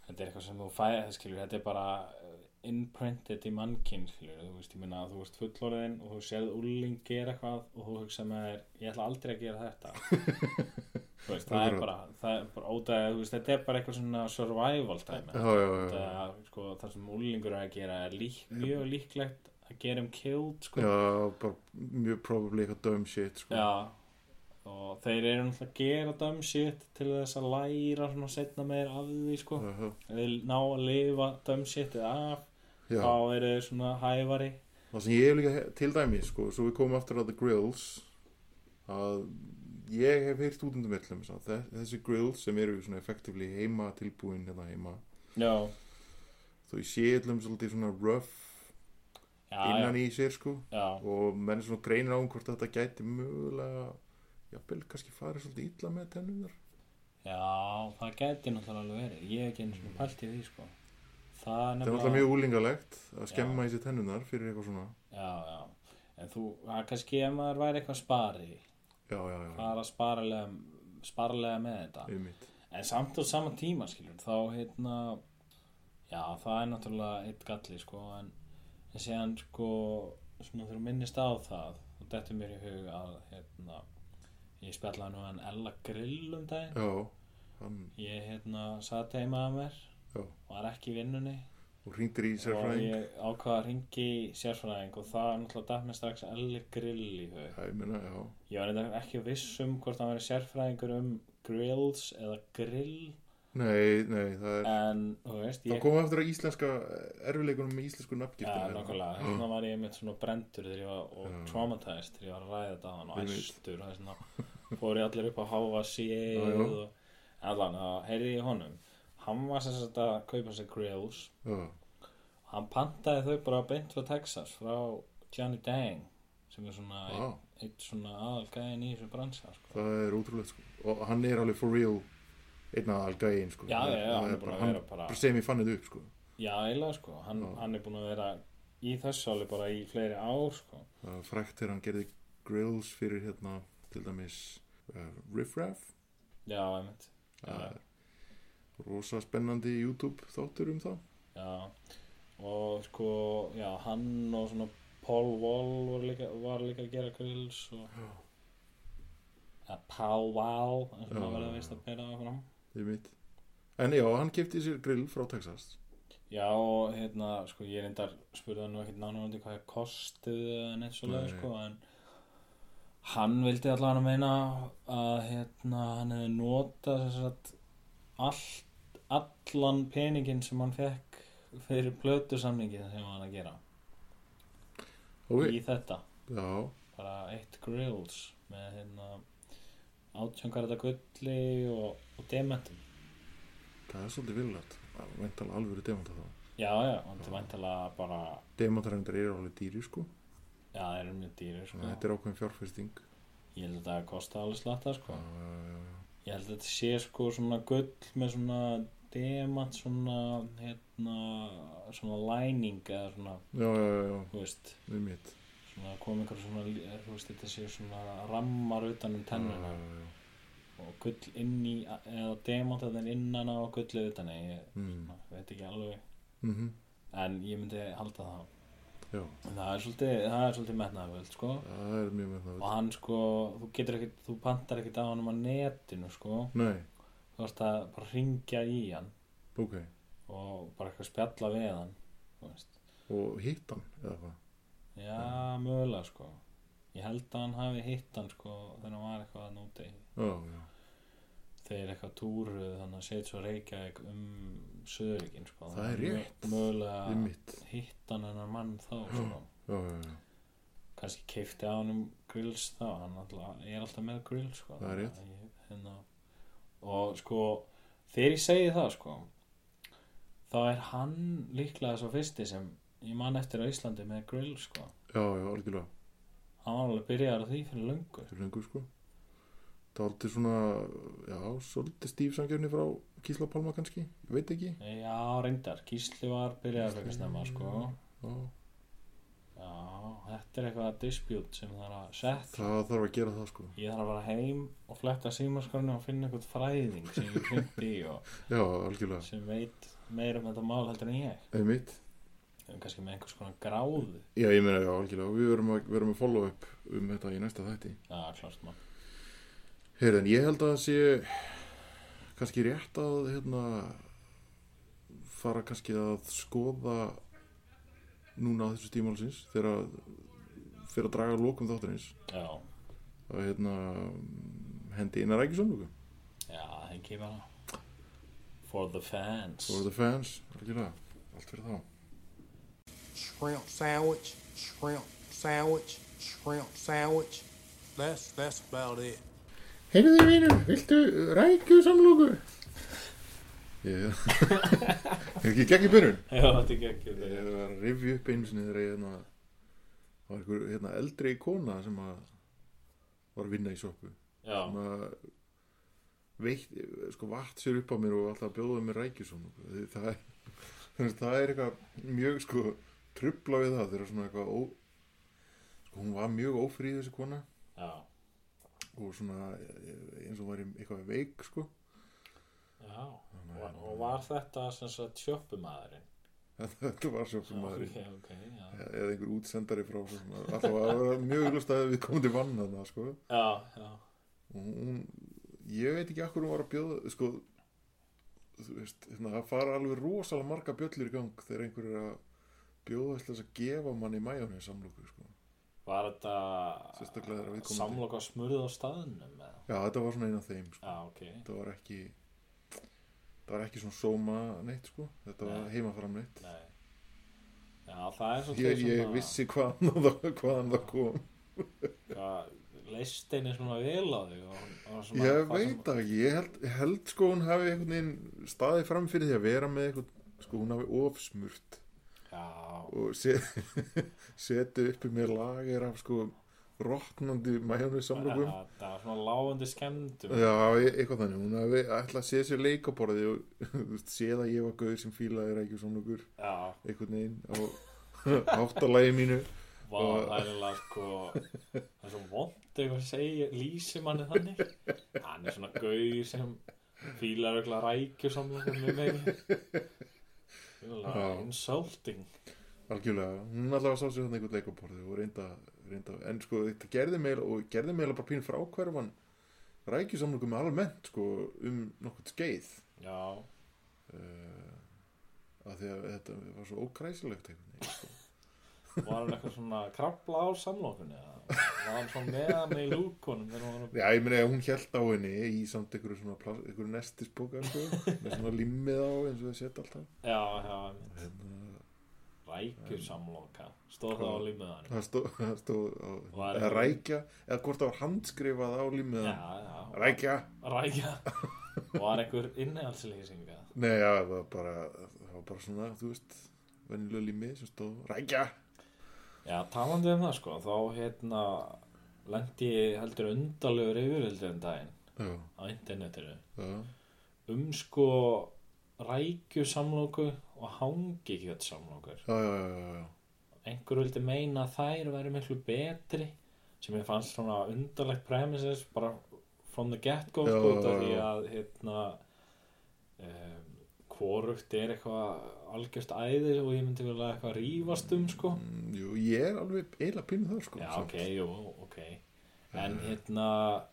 Speaker 1: þetta er eitthvað sem þú fæði það skilur þetta er bara eh, imprinted í mannkinn skilur þú veist, ég minna að þú veist fullorðin og þú sérð úling gera eitthvað og þú hugsa með þér, ég ætla aldrei að gera þetta þú veist, það er
Speaker 2: Akkurat.
Speaker 1: bara það er bara ótað, þú veist, þetta er bara eitthvað svona survival time
Speaker 2: já, já, já, já,
Speaker 1: það, sko, það sem úlingur er að gera er lík, mjög líklegt að gera um killed sko,
Speaker 2: já, bara mjög probably eitthvað dumb shit, sko
Speaker 1: Já og þeir eru náttúrulega að gera dumb shit til þess að læra svona setna meir af því sko
Speaker 2: já, já,
Speaker 1: ef þeir ná að lifa dumb shitið af
Speaker 2: já.
Speaker 1: þá eru þeir svona hæfari
Speaker 2: það sem ég hef líka he- til dæmi, sko, svo við komum aftur að The Grills að ég hef heyrt út um það mellum þessi grills sem eru svona effectively heima tilbúin hérna heima
Speaker 1: já,
Speaker 2: þó ég sé allum svolítið svona rough
Speaker 1: já,
Speaker 2: innan
Speaker 1: já,
Speaker 2: í sér sko
Speaker 1: já,
Speaker 2: og menn svona greinir á um hvort þetta gæti mögulega jafnvel kannski farið svolítið illa með tennunar
Speaker 1: já það gæti náttúrulega alveg verið ég hef ekki einu svona pælt í því sko það er
Speaker 2: þetta er alltaf mjög úlingalegt að skemma í sér tennunar fyrir eitthvað svona
Speaker 1: já, já, en þú, það er kannski ef maður væri eitthvað spari
Speaker 2: já, já, já,
Speaker 1: það er að sparlega, sparlega með þetta
Speaker 2: einmitt
Speaker 1: En samt og sama tíma skilur þá hérna já það er náttúrulega eitt galli sko en, en séðan sko svona þegar þú minnist á það og dettur mér í hug að hérna ég spjallaði nú hann Ella Grill um daginn
Speaker 2: já, hann,
Speaker 1: ég hérna satt heima að mér
Speaker 2: Já.
Speaker 1: var ekki í vinnunni
Speaker 2: og hringdir í
Speaker 1: og
Speaker 2: sérfræðing
Speaker 1: ég ákvaða að ringi í sérfræðing og það er náttúrulega datt mér strax Ella Grill í hug
Speaker 2: já, ég meina, já,
Speaker 1: ég var neitt ekki viss um hvort hann verið sérfræðingur um grills eða grill
Speaker 2: nei, nei, það er
Speaker 1: en þú veist
Speaker 2: þá
Speaker 1: ég
Speaker 2: komum við aftur að íslenska erfileikunum með íslensku
Speaker 1: Já,
Speaker 2: nafngiftina
Speaker 1: nokkulega, hérna var ég einmitt svona brendur þegar ég var, og
Speaker 2: Já.
Speaker 1: traumatized þegar ég var að ræða þetta á hann og
Speaker 2: Einmitt.
Speaker 1: æstur og þessna fór ég allir upp á háa séð
Speaker 2: Já, já.
Speaker 1: og en allan, þá heyrði ég í honum hann var sem sagt að kaupa sér grills
Speaker 2: já,
Speaker 1: hann pantaði þau bara beint frá Texas frá Johnny Dang sem er svona
Speaker 2: já,
Speaker 1: eitt, eitt svona aðalgæðin í þessu bransa sko.
Speaker 2: það er ótrúlegt sko. og hann er alveg for real einna algæin sko.
Speaker 1: Já, já, já,
Speaker 2: Það
Speaker 1: hann er
Speaker 2: bara-
Speaker 1: búin að vera bara-
Speaker 2: bara sem ég fann þetta upp sko.
Speaker 1: Já, eiginlega sko, hann,
Speaker 2: Já.
Speaker 1: hann er búin að vera í þessu alveg bara í fleiri ár sko.
Speaker 2: Það var frækt þegar hann gerði grills fyrir hérna til dæmis uh, Riff Raff
Speaker 1: Já, einmitt
Speaker 2: uh, rosa spennandi YouTube þáttur um það
Speaker 1: Já, og sko, já, hann og svona Paul Wall var líka, var líka að gera grills og að Paul Wall, eins og
Speaker 2: Já,
Speaker 1: maður verið
Speaker 2: já,
Speaker 1: að veist að bera það fram.
Speaker 2: ég mitt en já, hann kefti sér grill frá Texas
Speaker 1: Já, og hérna, sko, ég reyndar spurði hann nú ekkert nánúrundi hvað það kostiði en eins og lega,
Speaker 2: Nei.
Speaker 1: sko, en hann vildi allavega að meina að, hérna, hann hefði notað sem sagt allt, allan peninginn sem hann fekk fyrir plötu samningið sem hann var að gera
Speaker 2: ok,
Speaker 1: í þetta.
Speaker 2: já,
Speaker 1: bara eitt grills með hérna átjöngarða gulli og, og dementum
Speaker 2: það er svolítið villat veintal alvöru demanta þá
Speaker 1: já já, og þetta er væntalega bara
Speaker 2: demantarhendur eru alveg dýri sko
Speaker 1: já það eru mjög dýrir
Speaker 2: þannig
Speaker 1: sko.
Speaker 2: að þetta er ákveðin fjárfesting
Speaker 1: ég held að þetta kosti alveg slatta sko.
Speaker 2: uh,
Speaker 1: ég held að þetta sé sko svona gull með svona demant svona hérna svona læning eða svona
Speaker 2: já, já, já, já,
Speaker 1: þú veist
Speaker 2: við mitt
Speaker 1: eh, svona kom einhver svona lí- þú veist þetta sé svona rammar utan um tennuna
Speaker 2: já, já.
Speaker 1: og gull inn í eða demantaðin innan á gullið utan að ég
Speaker 2: Mm.
Speaker 1: svona, veit ekki alveg
Speaker 2: mm
Speaker 1: en ég myndi halda það
Speaker 2: Já,
Speaker 1: En það er svolítið, það er svolítið metnaðarvöld sko
Speaker 2: það er mjög með það
Speaker 1: og hann sko, þú getur ekkit, þú pantar ekkit á hann á netinu sko
Speaker 2: Nei,
Speaker 1: þú veist að bara ringja í hann
Speaker 2: ok,
Speaker 1: og bara eitthvað spjalla við hann þú veist.
Speaker 2: og hitt hann eða hvað
Speaker 1: já, mögulega sko ég held að hann hafi hitt hann sko þegar hann var eitthvað að núti
Speaker 2: Já, já,
Speaker 1: þeir eitthvað túruð þannig að setja svo Reykjavík um Söðuríkin sko.
Speaker 2: Það er
Speaker 1: Þannig að
Speaker 2: rétt.
Speaker 1: mö-
Speaker 2: við
Speaker 1: mögulega
Speaker 2: mitt
Speaker 1: hitt hann hennar mann þá sko.
Speaker 2: Já, já, já,
Speaker 1: kannski keifti á hann um grills þá hann alltaf, er alltaf með grills sko.
Speaker 2: Það er rétt.
Speaker 1: Þannig að ég, hérna, og sko þegar ég segi það sko þá er hann líklega svo fyrsti sem ég man eftir á Íslandi með grills sko
Speaker 2: já, já, algjörlega
Speaker 1: hann var alveg byrjaður á því fyrir löngu
Speaker 2: fyrir lengur sko það er aldrei svona, já, svolítið stíf samgjörni frá Kísla Palma kannski ég veit ekki,
Speaker 1: já, reyndar, Gísli var byrjaður fyrir snemma sko
Speaker 2: já,
Speaker 1: Já, þetta er eitthvað dispute sem þarf að setja.
Speaker 2: það þarf að gera það sko
Speaker 1: Ég þarf að fara heim og fletta símaskorinu og finna eitthvað fræðing sem ég kynnt í og
Speaker 2: já, algjörlega,
Speaker 1: sem veit meira um þetta mál heldur en ég.
Speaker 2: eða mitt
Speaker 1: Ég er kannski með einhvers konar gráðu.
Speaker 2: já, ég meina, já, algjörlega, við verum að, verum að follow up um þetta í næsta þætti
Speaker 1: Já, klart mann.
Speaker 2: heyrðin, ég held að það sé kannski rétt að hérna fara kannski að skoða núna á þessu stímálsins þegar að fyrir að draga lókum þáttarins
Speaker 1: Já,
Speaker 2: að hérna hendi Einar Rækisson lókum
Speaker 1: já, það er ekki bara. For the fans.
Speaker 2: For the fans, algjörlega, allt fyrir þá.
Speaker 5: shrimp sandwich, shrimp sandwich, shrimp sandwich. That's that's about it.
Speaker 2: Heyrðu vinur, viltu rækju samlóku? Ég er ekki gegn í byrjun.
Speaker 1: Já, þetta er ekki
Speaker 2: Ég
Speaker 1: ekki.
Speaker 2: var að rifja upp einu sinni þegar ég hérna, var einhver hérna, eldri kona sem að var að vinna í sjoppu.
Speaker 1: Já,
Speaker 2: Sem að veitt, sko vatt sér upp á mér og alltaf bjóðaði mér rækju samlóku. Það er, þú veist, það er eitthvað mjög sko trubla við það þegar svona eitthvað ó... Sko hún var mjög ófríð þessi kona.
Speaker 1: já,
Speaker 2: og svona eh, eins og væri eitthvað veik sko
Speaker 1: já. Og, og var þetta sem sagt sjöppumæðurinn?
Speaker 2: þetta var svo sem maður
Speaker 1: Já, ok, já.
Speaker 2: eða einhver útsendari frá svo sem maður alltaf að vera mjög augljóst að við komum til vann þarna sko og
Speaker 1: Já, já,
Speaker 2: hún, ég veit ekki akkur hún var að bjóða sko þú veist, hérna, það fara alveg rosalega marga bjöllur í gang þegar einhver er að bjóða til þess að gefa manni mæjónu samlóku sko
Speaker 1: Var þetta
Speaker 2: Sérstaklega þegar við komum til-
Speaker 1: samloka smurð á staðnum eða?
Speaker 2: já þetta var svona eina af þeim sko.
Speaker 1: Já, ok.
Speaker 2: þetta var ekki þetta var ekki svona sóma neitt sko þetta var
Speaker 1: Nei.
Speaker 2: heimafram neitt
Speaker 1: Nei. Já, það er svolítið
Speaker 2: ég, ég vissi hvaðan það, hvaðan það kom
Speaker 1: hvað leistin er svona vel á þig og, og svona,
Speaker 2: ég
Speaker 1: hvað
Speaker 2: veit það ekki, ég held, held sko hún hafi einhvern veginn staðið fram fyrir því að vera með eitthvað sko hún hafi ofsmurt
Speaker 1: Já,
Speaker 2: og set, seti uppi með lager af sko rotnandi mæjónu samlokum
Speaker 1: það það var svona lágandi skemmtum
Speaker 2: já, e- eitthvað þannig, hún hafi ætlað að sé sér leikaborði og þú veist, séð að ég var gauður sem fílaði rækjum samlokur
Speaker 1: Já,
Speaker 2: einhvern veginn á áttalagi mínu
Speaker 1: vá, það
Speaker 2: Og-
Speaker 1: er eiginlega sko það er svo vond eitthvað að segja lýsi manni þannig hann er svona gauð sem fílar eitthvað rækju samlokum með mig
Speaker 2: Já.
Speaker 1: Jöfnilega insulting
Speaker 2: Algjörlega, hún allavega sá sér hann einhvern leikaborði og reynda, reynda en sko þetta gerði mig og gerði mig eiginlega bara pínu frákverfan rækjusamlugum almennt sko um nokkurt skeið
Speaker 1: Já,
Speaker 2: uh, af því að þetta var svo ókræsilegt einhvern veginn sko.
Speaker 1: var hann eitthvað svona krabla á samlokunni eða var hann svona meðan í lúkunum þegar hann var að
Speaker 2: Já, ég meni að hún held á henni í samt einhverju svona plas, einhverju nestisbóka sko, með svona limmið á eins og það setja alltaf
Speaker 1: Já, já, einmitt.
Speaker 2: Hérna,
Speaker 1: rækjur samloka Stóð það á límiðanum
Speaker 2: það stóð stó,
Speaker 1: Var-
Speaker 2: eða rækja eða hvort það var handskrifað á limmið
Speaker 1: Já, já,
Speaker 2: rækja
Speaker 1: rækja Var einhver innihaldslýsing eða?
Speaker 2: Nei, já, það var bara, það var bara svona, þú veist, venjulega límið sem stóð, rækja!
Speaker 1: Já, talandi um það sko þá hérna lendi ég heldur undarlegur yfiröldur en daginn
Speaker 2: Já,
Speaker 1: á internetinu
Speaker 2: já,
Speaker 1: um sko rækju samloku og hangi kjöt samlokur
Speaker 2: já, já, já, já, já.
Speaker 1: einhver vildi meina að þær væri miklu betri sem ég fannst svona undarlegt premises bara from the get-go
Speaker 2: Já,
Speaker 1: sko, út
Speaker 2: já,
Speaker 1: af því
Speaker 2: já.
Speaker 1: að hérna um, hvorugt er eitthvað algjört æði og ég myndi vilja eitthvað rífast um sko
Speaker 2: Mm, Jú, ég er alveg eiginlega pínu þar sko Eh.
Speaker 1: já
Speaker 2: samt.
Speaker 1: ok, jú, ok en hérna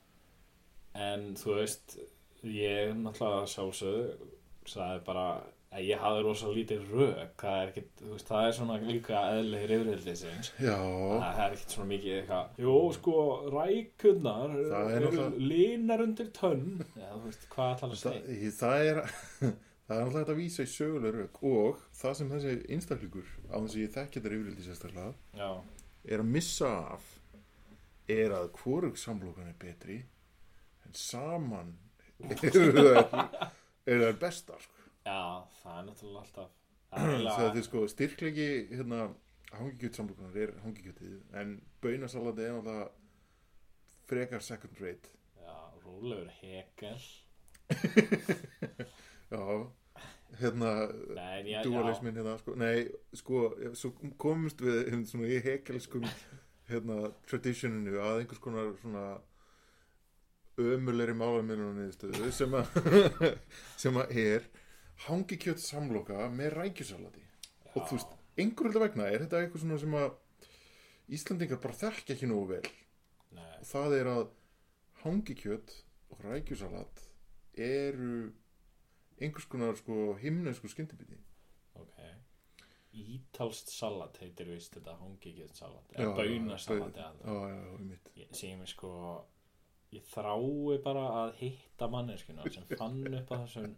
Speaker 1: en þú veist ég náttúrulega sjálfsög sagði bara að ég hafði rosa lítið rök það er, ekkit, þú veist, það er svona líka eðlir yfirhildisins
Speaker 2: Já,
Speaker 1: Það er ekkert svona mikið eitthvað Jó, sko, rækurnar
Speaker 2: Það er
Speaker 1: eru
Speaker 2: náttúrulega-
Speaker 1: línar undir tönn Já, þú veist, hvað ætlar að
Speaker 2: það,
Speaker 1: segja
Speaker 2: það er það er alltaf hægt að vísa í söguleg rauk og það sem þessi einstaklingur á þess að ég þekki þetta yfirleiti sérstaklega
Speaker 1: Já,
Speaker 2: er að missa af er að hvorug samlokan er betri en saman eru þær eru þær bestar sko.
Speaker 1: já, það er náttúrulega alltaf
Speaker 2: það
Speaker 1: Það
Speaker 2: er sko styrklegi hérna hangikjöt samlokunar er hangikjötið en baunasalati er náttúrulega frekar second rate
Speaker 1: Já, rólegur hegel
Speaker 2: já hérna
Speaker 1: Nei, en ég, já,
Speaker 2: dualismin hérna sko, nei, sko, svo komumst við hérna, svona, í hekelskum hérna, traditioninu að einhvers konar svona ömulegri málamiluninniðstöðu sem að sem að er hangikjöt samloka með rækjusalati og þú veist, einhverjulega vegna er þetta eitthvað svona sem að Íslandingar bara þekki ekki nógu vel
Speaker 1: nei,
Speaker 2: og það er að hangikjöt og rækjusalat eru einhvers konar sko himnesku skyndibiti
Speaker 1: ok Ítalst salat heitir vist þetta hongikjöld salat
Speaker 2: Já,
Speaker 1: Eða baunasalat
Speaker 2: já,
Speaker 1: eða
Speaker 2: já, já, já, einmitt.
Speaker 1: Ég- sem ég sko ég þrái bara að hitta manneskuna sem fann upp að þessum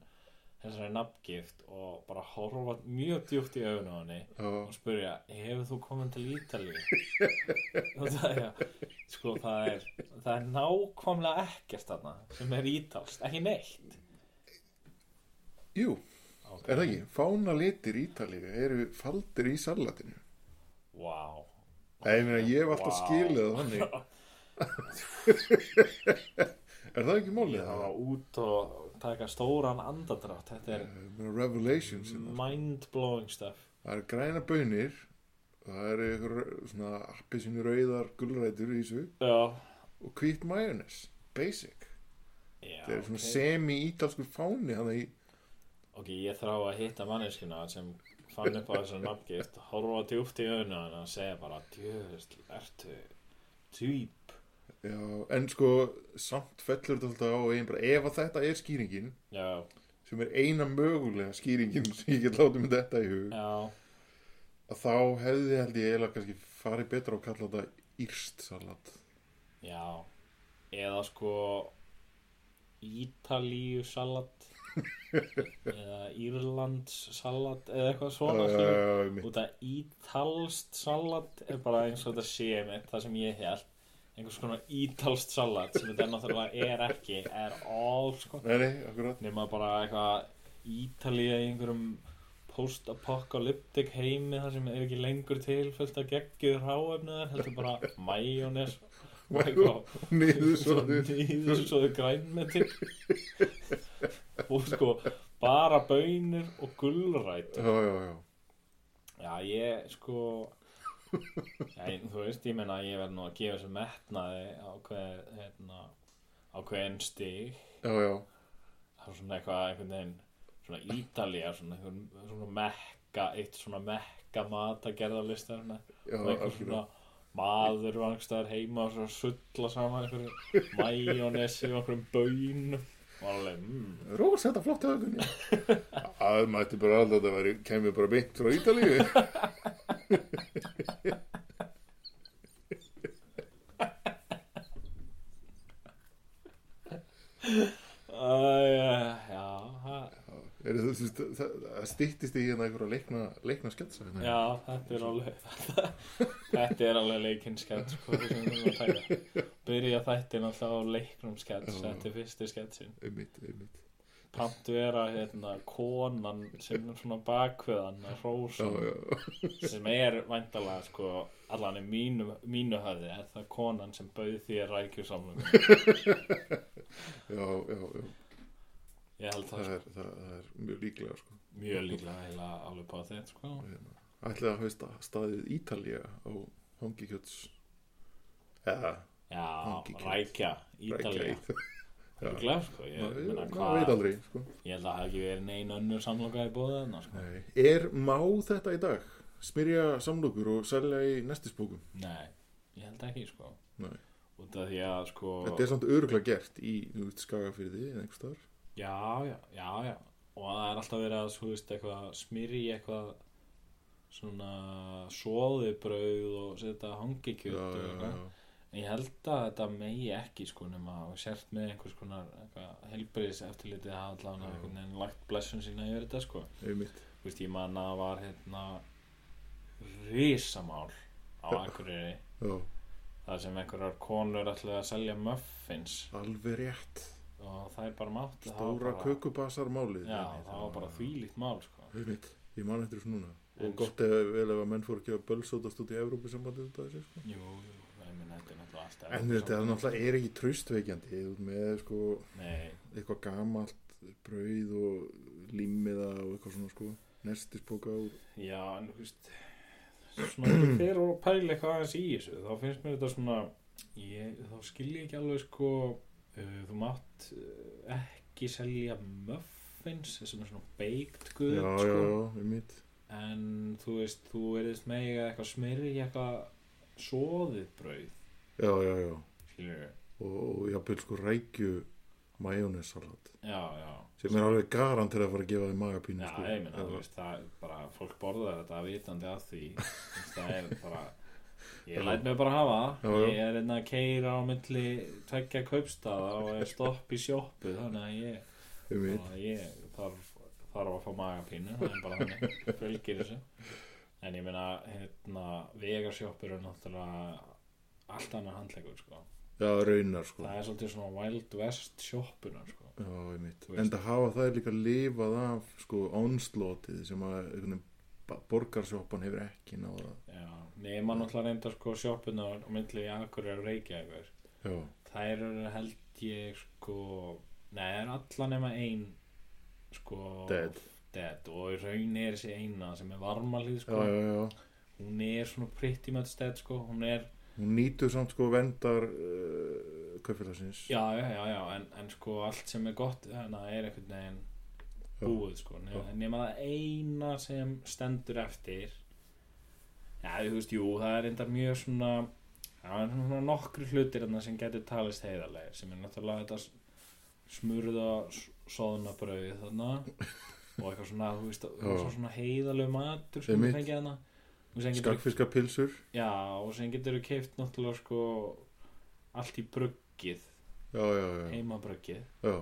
Speaker 1: þessari nafngift og bara horfa mjög djúpt í augun á henni
Speaker 2: Já.
Speaker 1: og spurja, hefur þú komin til Ítalíu? og það er sko það er, það er nákvæmlega ekkert þarna sem er ítalst, ekki neitt
Speaker 2: Jú,
Speaker 1: Ok.
Speaker 2: er það ekki? Fána litir Ítalíu eru faldir í salatinu.
Speaker 1: Vá,
Speaker 2: Nei, ég meina, ég hef alltaf
Speaker 1: Vá.
Speaker 2: skilið það þannig. er það ekki málið?
Speaker 1: það var út og taka stóran andadrátt þetta er
Speaker 2: Ég meina, Eh, Revelations. Mm.
Speaker 1: mind blowing stuff
Speaker 2: Það eru græna bönir, það eru einhver svona appisinu rauðar gulrætur í þessu
Speaker 1: Já,
Speaker 2: og hvít majónes, basic.
Speaker 1: Já
Speaker 2: Það er svona
Speaker 1: ok.
Speaker 2: semi-ítalskur fáni hann í,
Speaker 1: Ok, ég þrá að hitta manneskina sem fann upp á þessu nafngift horfa djúpt í auðna en að segja bara djöðust, ertu týp
Speaker 2: já, en sko samt fellur þetta alltaf á einn bara ef að þetta er skýringin
Speaker 1: Já,
Speaker 2: sem er eina mögulega skýringin sem ég get látið með þetta í hug
Speaker 1: já,
Speaker 2: að þá hefði held ég eiginlega kannski farið betra og kalla þetta írst salat
Speaker 1: já eða sko Ítalíu salat eða Írlands salat eða eitthvað svona uh,
Speaker 2: uh, mitt.
Speaker 1: út að Ítalst salat er bara eins og þetta sé mitt það sem ég held einhvers konar Ítalst salat sem þetta náttúrulega er ekki er all sko
Speaker 2: Nei, nei, akkurat
Speaker 1: nema bara eitthvað Ítalía í einhverjum post-apocalyptic heimi þar sem er ekki lengur til fullt af geggjur háefniðar heldur bara majónes og eitthvað
Speaker 2: Niður svo
Speaker 1: nýðsóðu grænmeti og sko bara baunir og gulrætur
Speaker 2: Já, já, já
Speaker 1: Já, ég sko já, ég- þú veist, ég meina að ég verð nú að gefa þessu metnaði á hver hérna, á hvern stig
Speaker 2: Já, já,
Speaker 1: það er svona eitthvað einhvern veginn svona Ítalía, svona, einhvern- svona mekka, eitt svona mekka mat að gerða listar hérna
Speaker 2: Já,
Speaker 1: og einhver svona
Speaker 2: algjörlega.
Speaker 1: maður vangstæðar heima og svona sulla saman einhverjum majónesi og einhverjum baun og alveg, mm,
Speaker 2: Rós, þetta flott höfðunni Það mætti bara alltaf að þetta væri kemur bara beint frá Ítalíu
Speaker 1: uh, já, ha,
Speaker 2: Er það, þú veist, það, það stýttist í hérna einhverja leikna, leikna sketsa hérna.
Speaker 1: já, þetta er alveg þetta er alveg leikinskett sko, sem við erum að taka byrja þættin alltaf á leiknum skett þetta er fyrsti sketsin
Speaker 2: Einmitt, einmitt
Speaker 1: Pant vera hérna konan sem er svona bakveðan að
Speaker 2: Já,
Speaker 1: rósa
Speaker 2: já,
Speaker 1: sem er væntalega sko allan í mínu, mínu höfði er það konan sem bauð þér rækjusamlum
Speaker 2: já, já, já.
Speaker 1: ég held það
Speaker 2: Það,
Speaker 1: sko,
Speaker 2: er, það, það er mjög líklega sko.
Speaker 1: mjög líklega heila alveg på þetta sko
Speaker 2: ætlaði að hafa sta- staðið Ítalía á hangikjöts eða
Speaker 1: já,
Speaker 2: Hangikjöt.
Speaker 1: rækja, Ítalía
Speaker 2: Ítalía
Speaker 1: Örugglega, sko, ég,
Speaker 2: maður
Speaker 1: meina,
Speaker 2: maður veit
Speaker 1: hvað,
Speaker 2: aldrei sko.
Speaker 1: ég held að það hafi ekki verið neina önnur samloka í bóða þarna sko.
Speaker 2: Nei. er má þetta í dag smyrja samlokur og selja í nestisbókum
Speaker 1: Nei, ég held ekki sko.
Speaker 2: Nei.
Speaker 1: Út af því að sko,
Speaker 2: þetta er samt öruglega gert í þú veist, skagafyrði eða einhvers staðar
Speaker 1: já, já, já, já. Og það er alltaf verið að, þú veist, eitthvað, smyrja í eitthvað svona svoðibrauð og setja hangikjöt og
Speaker 2: Já, já,
Speaker 1: eitthvað.
Speaker 2: já.
Speaker 1: En ég held að þetta megi ekki sko nema að sért með einhvers konar helbriðis eftirlitið hafa allan einhvern veginn lagt blessun sína yfir þetta sko
Speaker 2: einmitt
Speaker 1: Þú veist, ég man að það var hérna risamál á Akureyri
Speaker 2: já,
Speaker 1: þar sem einhverjar konur ætlaði að selja muffins
Speaker 2: alveg rétt
Speaker 1: og þær bara máttu það var
Speaker 2: stóra
Speaker 1: bara-
Speaker 2: kökubasar málið
Speaker 1: Já, það var bara þvílíkt mál sko
Speaker 2: einmitt, ég man eftir þessu núna
Speaker 1: En
Speaker 2: og gott ef, vel ef að menn fór ekki að bölsótast út í Evrópusambandið út af þessu sko.
Speaker 1: Jú, jú, ég minn þetta er náttúrulega alltaf
Speaker 2: en þetta er náttúrulega er ekki tröstveikjandi þú ert með sko
Speaker 1: Nei,
Speaker 2: eitthvað gamalt brauð og límiða og eitthvað svona sko nestisbóka og
Speaker 1: Já, en þú veist svona þegar ég fer og pæla eitthvað aðeins í þessu þá finnst mér þetta svona ég, þá skil ég ekki alveg sko uh, þú mátt uh, ekki selja muffins sem er svona baked good
Speaker 2: já,
Speaker 1: sko.
Speaker 2: já, já, einmitt
Speaker 1: en þú veist, þú erðist mega eitthvað smyrri eitthvað soðið brauð
Speaker 2: já, já, já
Speaker 1: skilur við
Speaker 2: og, og jafnvel sko rækju majónessalat
Speaker 1: Já, já,
Speaker 2: sem er alveg garan til að fara að gefa þið
Speaker 1: já,
Speaker 2: magapínu sko.
Speaker 1: ég meina, þú
Speaker 2: Eða-
Speaker 1: veist, það er bara, fólk borðar þetta vitandi að því, þú veist, það er bara,
Speaker 2: Já.
Speaker 1: ég læt mig bara hafa,
Speaker 2: Já, já.
Speaker 1: ég er einna að keira á milli tveggja kaupstaða og er stopp í sjoppu, þannig að ég,
Speaker 2: einmitt,
Speaker 1: þannig að ég þarf, þarf að fá magapínu, það er bara þannig, fylgir þessu. En ég meina, hérna, vegarsjoppur er náttúrulega allt annar handlegur, sko.
Speaker 2: já, raunar sko
Speaker 1: Það er svolítið svona Wild West sjoppunar, sko.
Speaker 2: Já, einmitt.
Speaker 1: Þú veist.
Speaker 2: En það hafa þær líka lifað af sko onslótið sem að einhvern veginn ba- borgarsjoppan hefur ekki náða.
Speaker 1: Já, nema náttúrulega reyndar sko sjoppunar á milli Akureyri og Reykjavíkur.
Speaker 2: Já,
Speaker 1: Þær eru held ég sko Nei, það er alla nema ein sko
Speaker 2: Dead.
Speaker 1: dead. og í raun er þessi eina sem er varmalið
Speaker 2: já,
Speaker 1: sko
Speaker 2: já, já.
Speaker 1: hún er svona pretty much dead sko hún er,
Speaker 2: Hún nýtur samt sko vendar uh, kaupfélagsins.
Speaker 1: já, já, já, já en, en sko allt sem er gott þannig er einhvern veginn búið sko nema, nema það eina sem stendur eftir Já, þú veist, jú, það er reyndar mjög svona það er svona nokkru hlutir þarna sem getur talist heiðarlegir sem er náttúrulega þetta s- smurða soðna brauði þarna og eitthvað svona, þú veist,
Speaker 2: Já.
Speaker 1: svo svona heiðarlegu matur sem
Speaker 2: Einmitt.
Speaker 1: við fengið þarna og sem getur,
Speaker 2: Skagfiska pilsur.
Speaker 1: já, og sem getur keift náttúrulega sko allt í bruggið,
Speaker 2: Já, já, já.
Speaker 1: heimabruggið
Speaker 2: Já,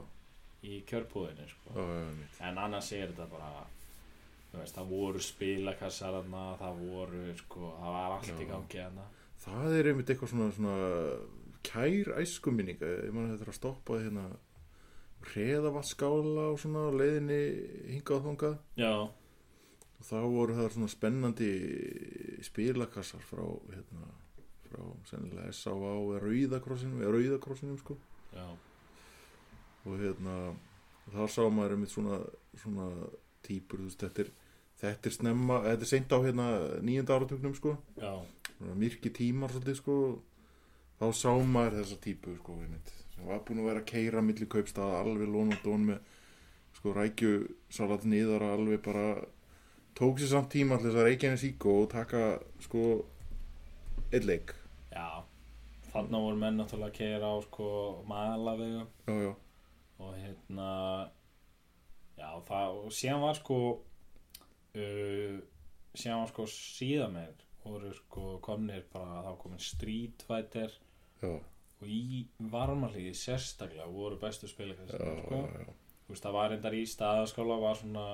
Speaker 1: í kjörbúðinni, sko
Speaker 2: já, já, einmitt.
Speaker 1: en annars er þetta bara þú veist, það voru spilakassar þarna, það voru, sko, það var allt
Speaker 2: Já.
Speaker 1: í gangi hérna. þarna
Speaker 2: Það er einmitt eitthvað svona, svona kær æskuminninga. Ég man að þetta er að stoppa hérna hreðavatskála og svona á leiðinni hingað og þangað.
Speaker 1: Já,
Speaker 2: og þá voru það svona spennandi spilakassar frá hérna, frá sennilega S.A.A. eða Rauðakrossinum eða Rauðakrossinum sko
Speaker 1: já,
Speaker 2: og hérna þar sá maður einmitt svona, svona típur, þú veist, þetta er þetta er snemma, þetta er seint á hérna nýjönda áratugnum sko,
Speaker 1: já,
Speaker 2: svona myrki tímar svolítið sko þá sá maður þessa típu sko einmitt, sem var búin að vera að keira milli kaupstaða alveg lón og dón með sko rækju salat niðar alveg bara tók sér samt tíma allir þess að reykja henni síkó og taka sko eitt leik
Speaker 1: já Þarna voru menn náttúrulega að keira á sko malavegum
Speaker 2: já já,
Speaker 1: og hérna já það og síðan var sko uh, síðan var sko síðan meir voru sko komnir bara þá komin street fighter
Speaker 2: já,
Speaker 1: og í varmalíði sérstaklega voru bestu
Speaker 2: já,
Speaker 1: spilakassar
Speaker 2: já,
Speaker 1: sko.
Speaker 2: já.
Speaker 1: þú veist það var reyndar í staðaskóla var svona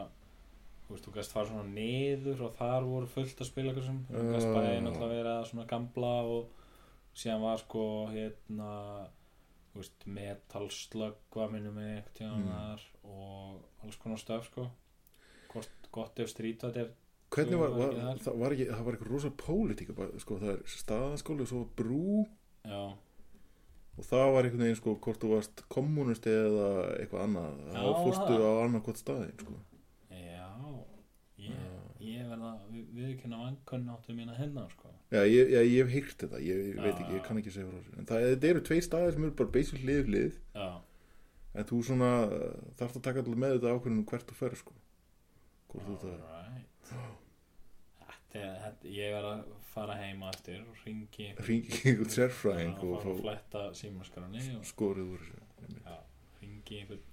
Speaker 1: þú veist þú gæst fara svona niður og þar voru fullt að spila eitthvað sem þú gæst
Speaker 2: Já, já,
Speaker 1: bæði
Speaker 2: já.
Speaker 1: náttúrulega vera svona gamla og síðan var sko hérna þú veist metalslögg var minnum með eitthvað
Speaker 2: Mm.
Speaker 1: tíðan þar og alls konar stöf sko Hvort, gott ef strítvætt er
Speaker 2: hvernig var,
Speaker 1: Svo var
Speaker 2: var,
Speaker 1: ekki þar.
Speaker 2: það var ekki, það var eitthvað rosa pólitík bara, sko, það er staðaskóli og svo brú
Speaker 1: já,
Speaker 2: og það var einhvern veginn sko hvort þú varst kommunist eða eitthvað annað þá
Speaker 1: Já,
Speaker 2: fórstu
Speaker 1: það.
Speaker 2: á annarkot staðin sko.
Speaker 1: já ég, ég verða við, viðkynna vankunn áttu mína hérna sko
Speaker 2: já, ég, já, ég hef heyrt þetta, ég
Speaker 1: Já,
Speaker 2: veit ekki,
Speaker 1: já.
Speaker 2: ég kann ekki segja frá þessu en það þetta eru tvei staðir sem eru bara basic lið við lið
Speaker 1: já,
Speaker 2: en þú svona eh, þarft að taka allir með þetta ákvörðunum hvert þú fer sko hvort þú þetta
Speaker 1: Alright Þetta er, þetta, ég verð að fara heima eftir og ringi
Speaker 2: ringi einhvern sérfræðing
Speaker 1: og
Speaker 2: og
Speaker 1: fara að
Speaker 2: fá
Speaker 1: fletta símaskrani og
Speaker 2: skorið úr þessu einmitt.
Speaker 1: já, ringi einhvern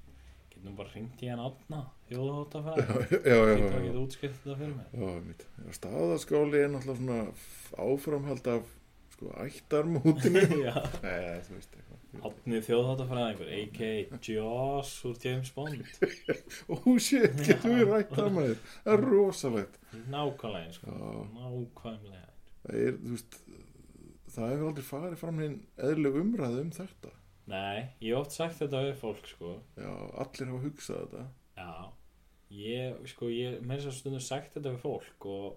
Speaker 1: getum nú bara ringt í hann átna þjóðhóttafræði
Speaker 2: já, já,
Speaker 1: Sýnum að
Speaker 2: já, já.
Speaker 1: geta útskipt þetta fyrir mig
Speaker 2: Já, mitt. Staðaskáli er náttúrulega svona f- áframhald af sko ættarmótinu.
Speaker 1: Já.
Speaker 2: Nei, þú veist eitthvað.
Speaker 1: Átni þjóðhóttafræðingur a.k.a. Joss úr James Bond
Speaker 2: Ó, shit, getum við rætt það maður. Það er rosalegt.
Speaker 1: Nákvæmlega eins, sko.
Speaker 2: Já,
Speaker 1: Nákvæmlega eins.
Speaker 2: það er, þú veist, það hefur aldrei farið fram hinn eðlug umræðu um þetta.
Speaker 1: Nei, ég hef oft sagt þetta við fólk sko
Speaker 2: Já, allir hafa hugsað þetta.
Speaker 1: Já, ég, sko, ég meins að segja stundum sagt þetta við fólk og,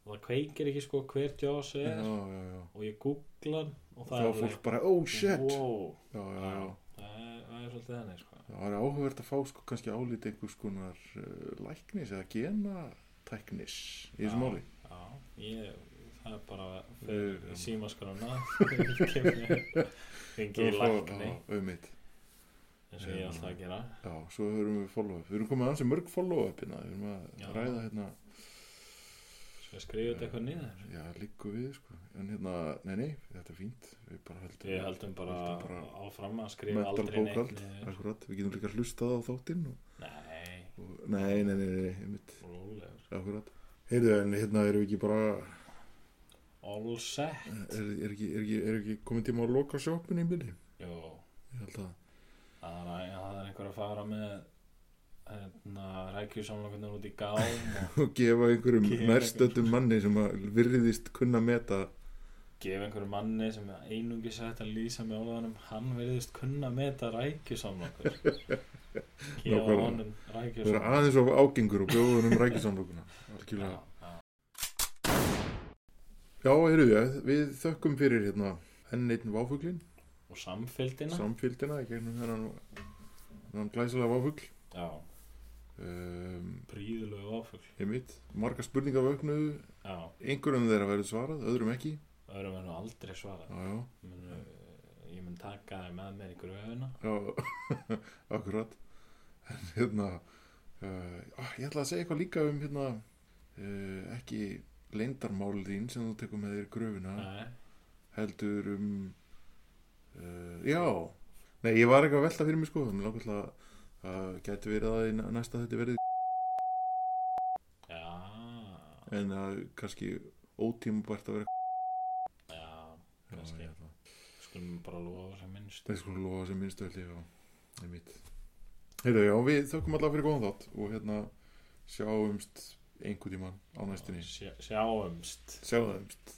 Speaker 1: og það kveikir ekki sko hver Joss
Speaker 2: Já,
Speaker 1: er
Speaker 2: já, já.
Speaker 1: og ég googla hann og
Speaker 2: Þá
Speaker 1: það
Speaker 2: er fólk bara, ó, shit.
Speaker 1: wow,
Speaker 2: Já, já, já.
Speaker 1: það, er, það er svolítið þannig sko.
Speaker 2: Það er áhugavert að fá sko kannski álít einhvers konar uh, læknis eða genatæknis í þessu
Speaker 1: Já.
Speaker 2: máli.
Speaker 1: Já, ég, það er bara
Speaker 2: Við-
Speaker 1: fyrir símaskrona ringi í
Speaker 2: Og svo-
Speaker 1: lækni
Speaker 2: Já, auðvitað.
Speaker 1: eins og ég er alltaf að gera
Speaker 2: Já, svo höfum við follow-up. Við erum komið aðeins í mörg follow-up hérna. Við erum að
Speaker 1: Já.
Speaker 2: ræða hérna,
Speaker 1: Svo ég skrifa þetta eitthvað niður
Speaker 2: já, líku við, sko. En hérna, nei, nei, þetta er fínt. Við bara heldum,
Speaker 1: Við höldum bara áfram að skrifa
Speaker 2: mental
Speaker 1: aldrei neitt
Speaker 2: bókald.
Speaker 1: niður
Speaker 2: Akkurat, við getum líka hlustað á þáttinn. Og,
Speaker 1: Nei,
Speaker 2: og, nei, nei, nei, nei, nei, einmitt,
Speaker 1: rólegur
Speaker 2: akkurat. Heyrðu, en hérna erum við ekki bara,
Speaker 1: All set
Speaker 2: er, er, ekki, er, ekki, er ekki komið tíma að loka sjópinu í byrju?
Speaker 1: Jó
Speaker 2: Ég held að,
Speaker 1: Það er, það er einhver að fara með hérna, rækjusamlokunar út í gám og
Speaker 2: og gefa einhverjum
Speaker 1: Gefa
Speaker 2: nærstöldum manni sem að virðist kunna meta
Speaker 1: gefa einhverju manni sem er einungis hægt að lýsa með ólaðanum hann verðist kunna með þetta rækjusamlokur gefa
Speaker 2: Nákvæmlega.
Speaker 1: honum
Speaker 2: vera
Speaker 1: rækjusamlokur
Speaker 2: aðeins of ágengur og bjóða um rækisamlokuna. Algjörlega. Já, heyrðu ég, við þökkum fyrir hérna enn einn váfuglin,
Speaker 1: og samfélgina
Speaker 2: samfélgina í gegnum hennan, hennan glæsilega váfugl
Speaker 1: já,
Speaker 2: um,
Speaker 1: príðulegu áfugl
Speaker 2: ég mitt, margar spurningar vöknuðu
Speaker 1: já,
Speaker 2: einhverjum þeirra verður svarað, öðrum ekki
Speaker 1: öðrum er nú aldrei svarað
Speaker 2: já, já,
Speaker 1: Munu, ég mun taka þið með mér í gröfuna
Speaker 2: já akkurat en hérna uh, á, ég ætla að segja eitthvað líka um hérna uh, ekki leyndarmál þín sem þú tekur með þér í gröfuna
Speaker 1: nei,
Speaker 2: heldur um uh, já nei ég var eitthvað að velta fyrir mig sko um langar til að það gæti verið að í næ- næsta þetta verið
Speaker 1: já
Speaker 2: en að kannski ótímabært að vera
Speaker 1: já,
Speaker 2: já,
Speaker 1: kannski
Speaker 2: ég ætla-
Speaker 1: skulum bara lofa sem minnst
Speaker 2: það er sko lofa sem minnstu held ég á í mitt heyrðu já við þökkum alla fyrir góðan þátt og hérna sjáumst einhvern tíman á næstinni
Speaker 1: Sjá- sjáumst
Speaker 2: sjáumst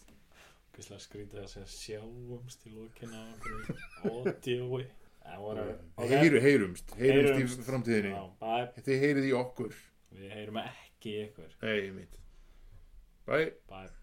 Speaker 1: Hverslega skrítið að segja sjáumst í lókina á okkur ódjói
Speaker 2: Heyru, heyrumst, heyrumst
Speaker 1: Heyrumst.
Speaker 2: í framtíðinni
Speaker 1: bæ,
Speaker 2: þið heyrið í okkur
Speaker 1: Við heyrum ekki í ykkur
Speaker 2: nei mitt bye
Speaker 1: Bye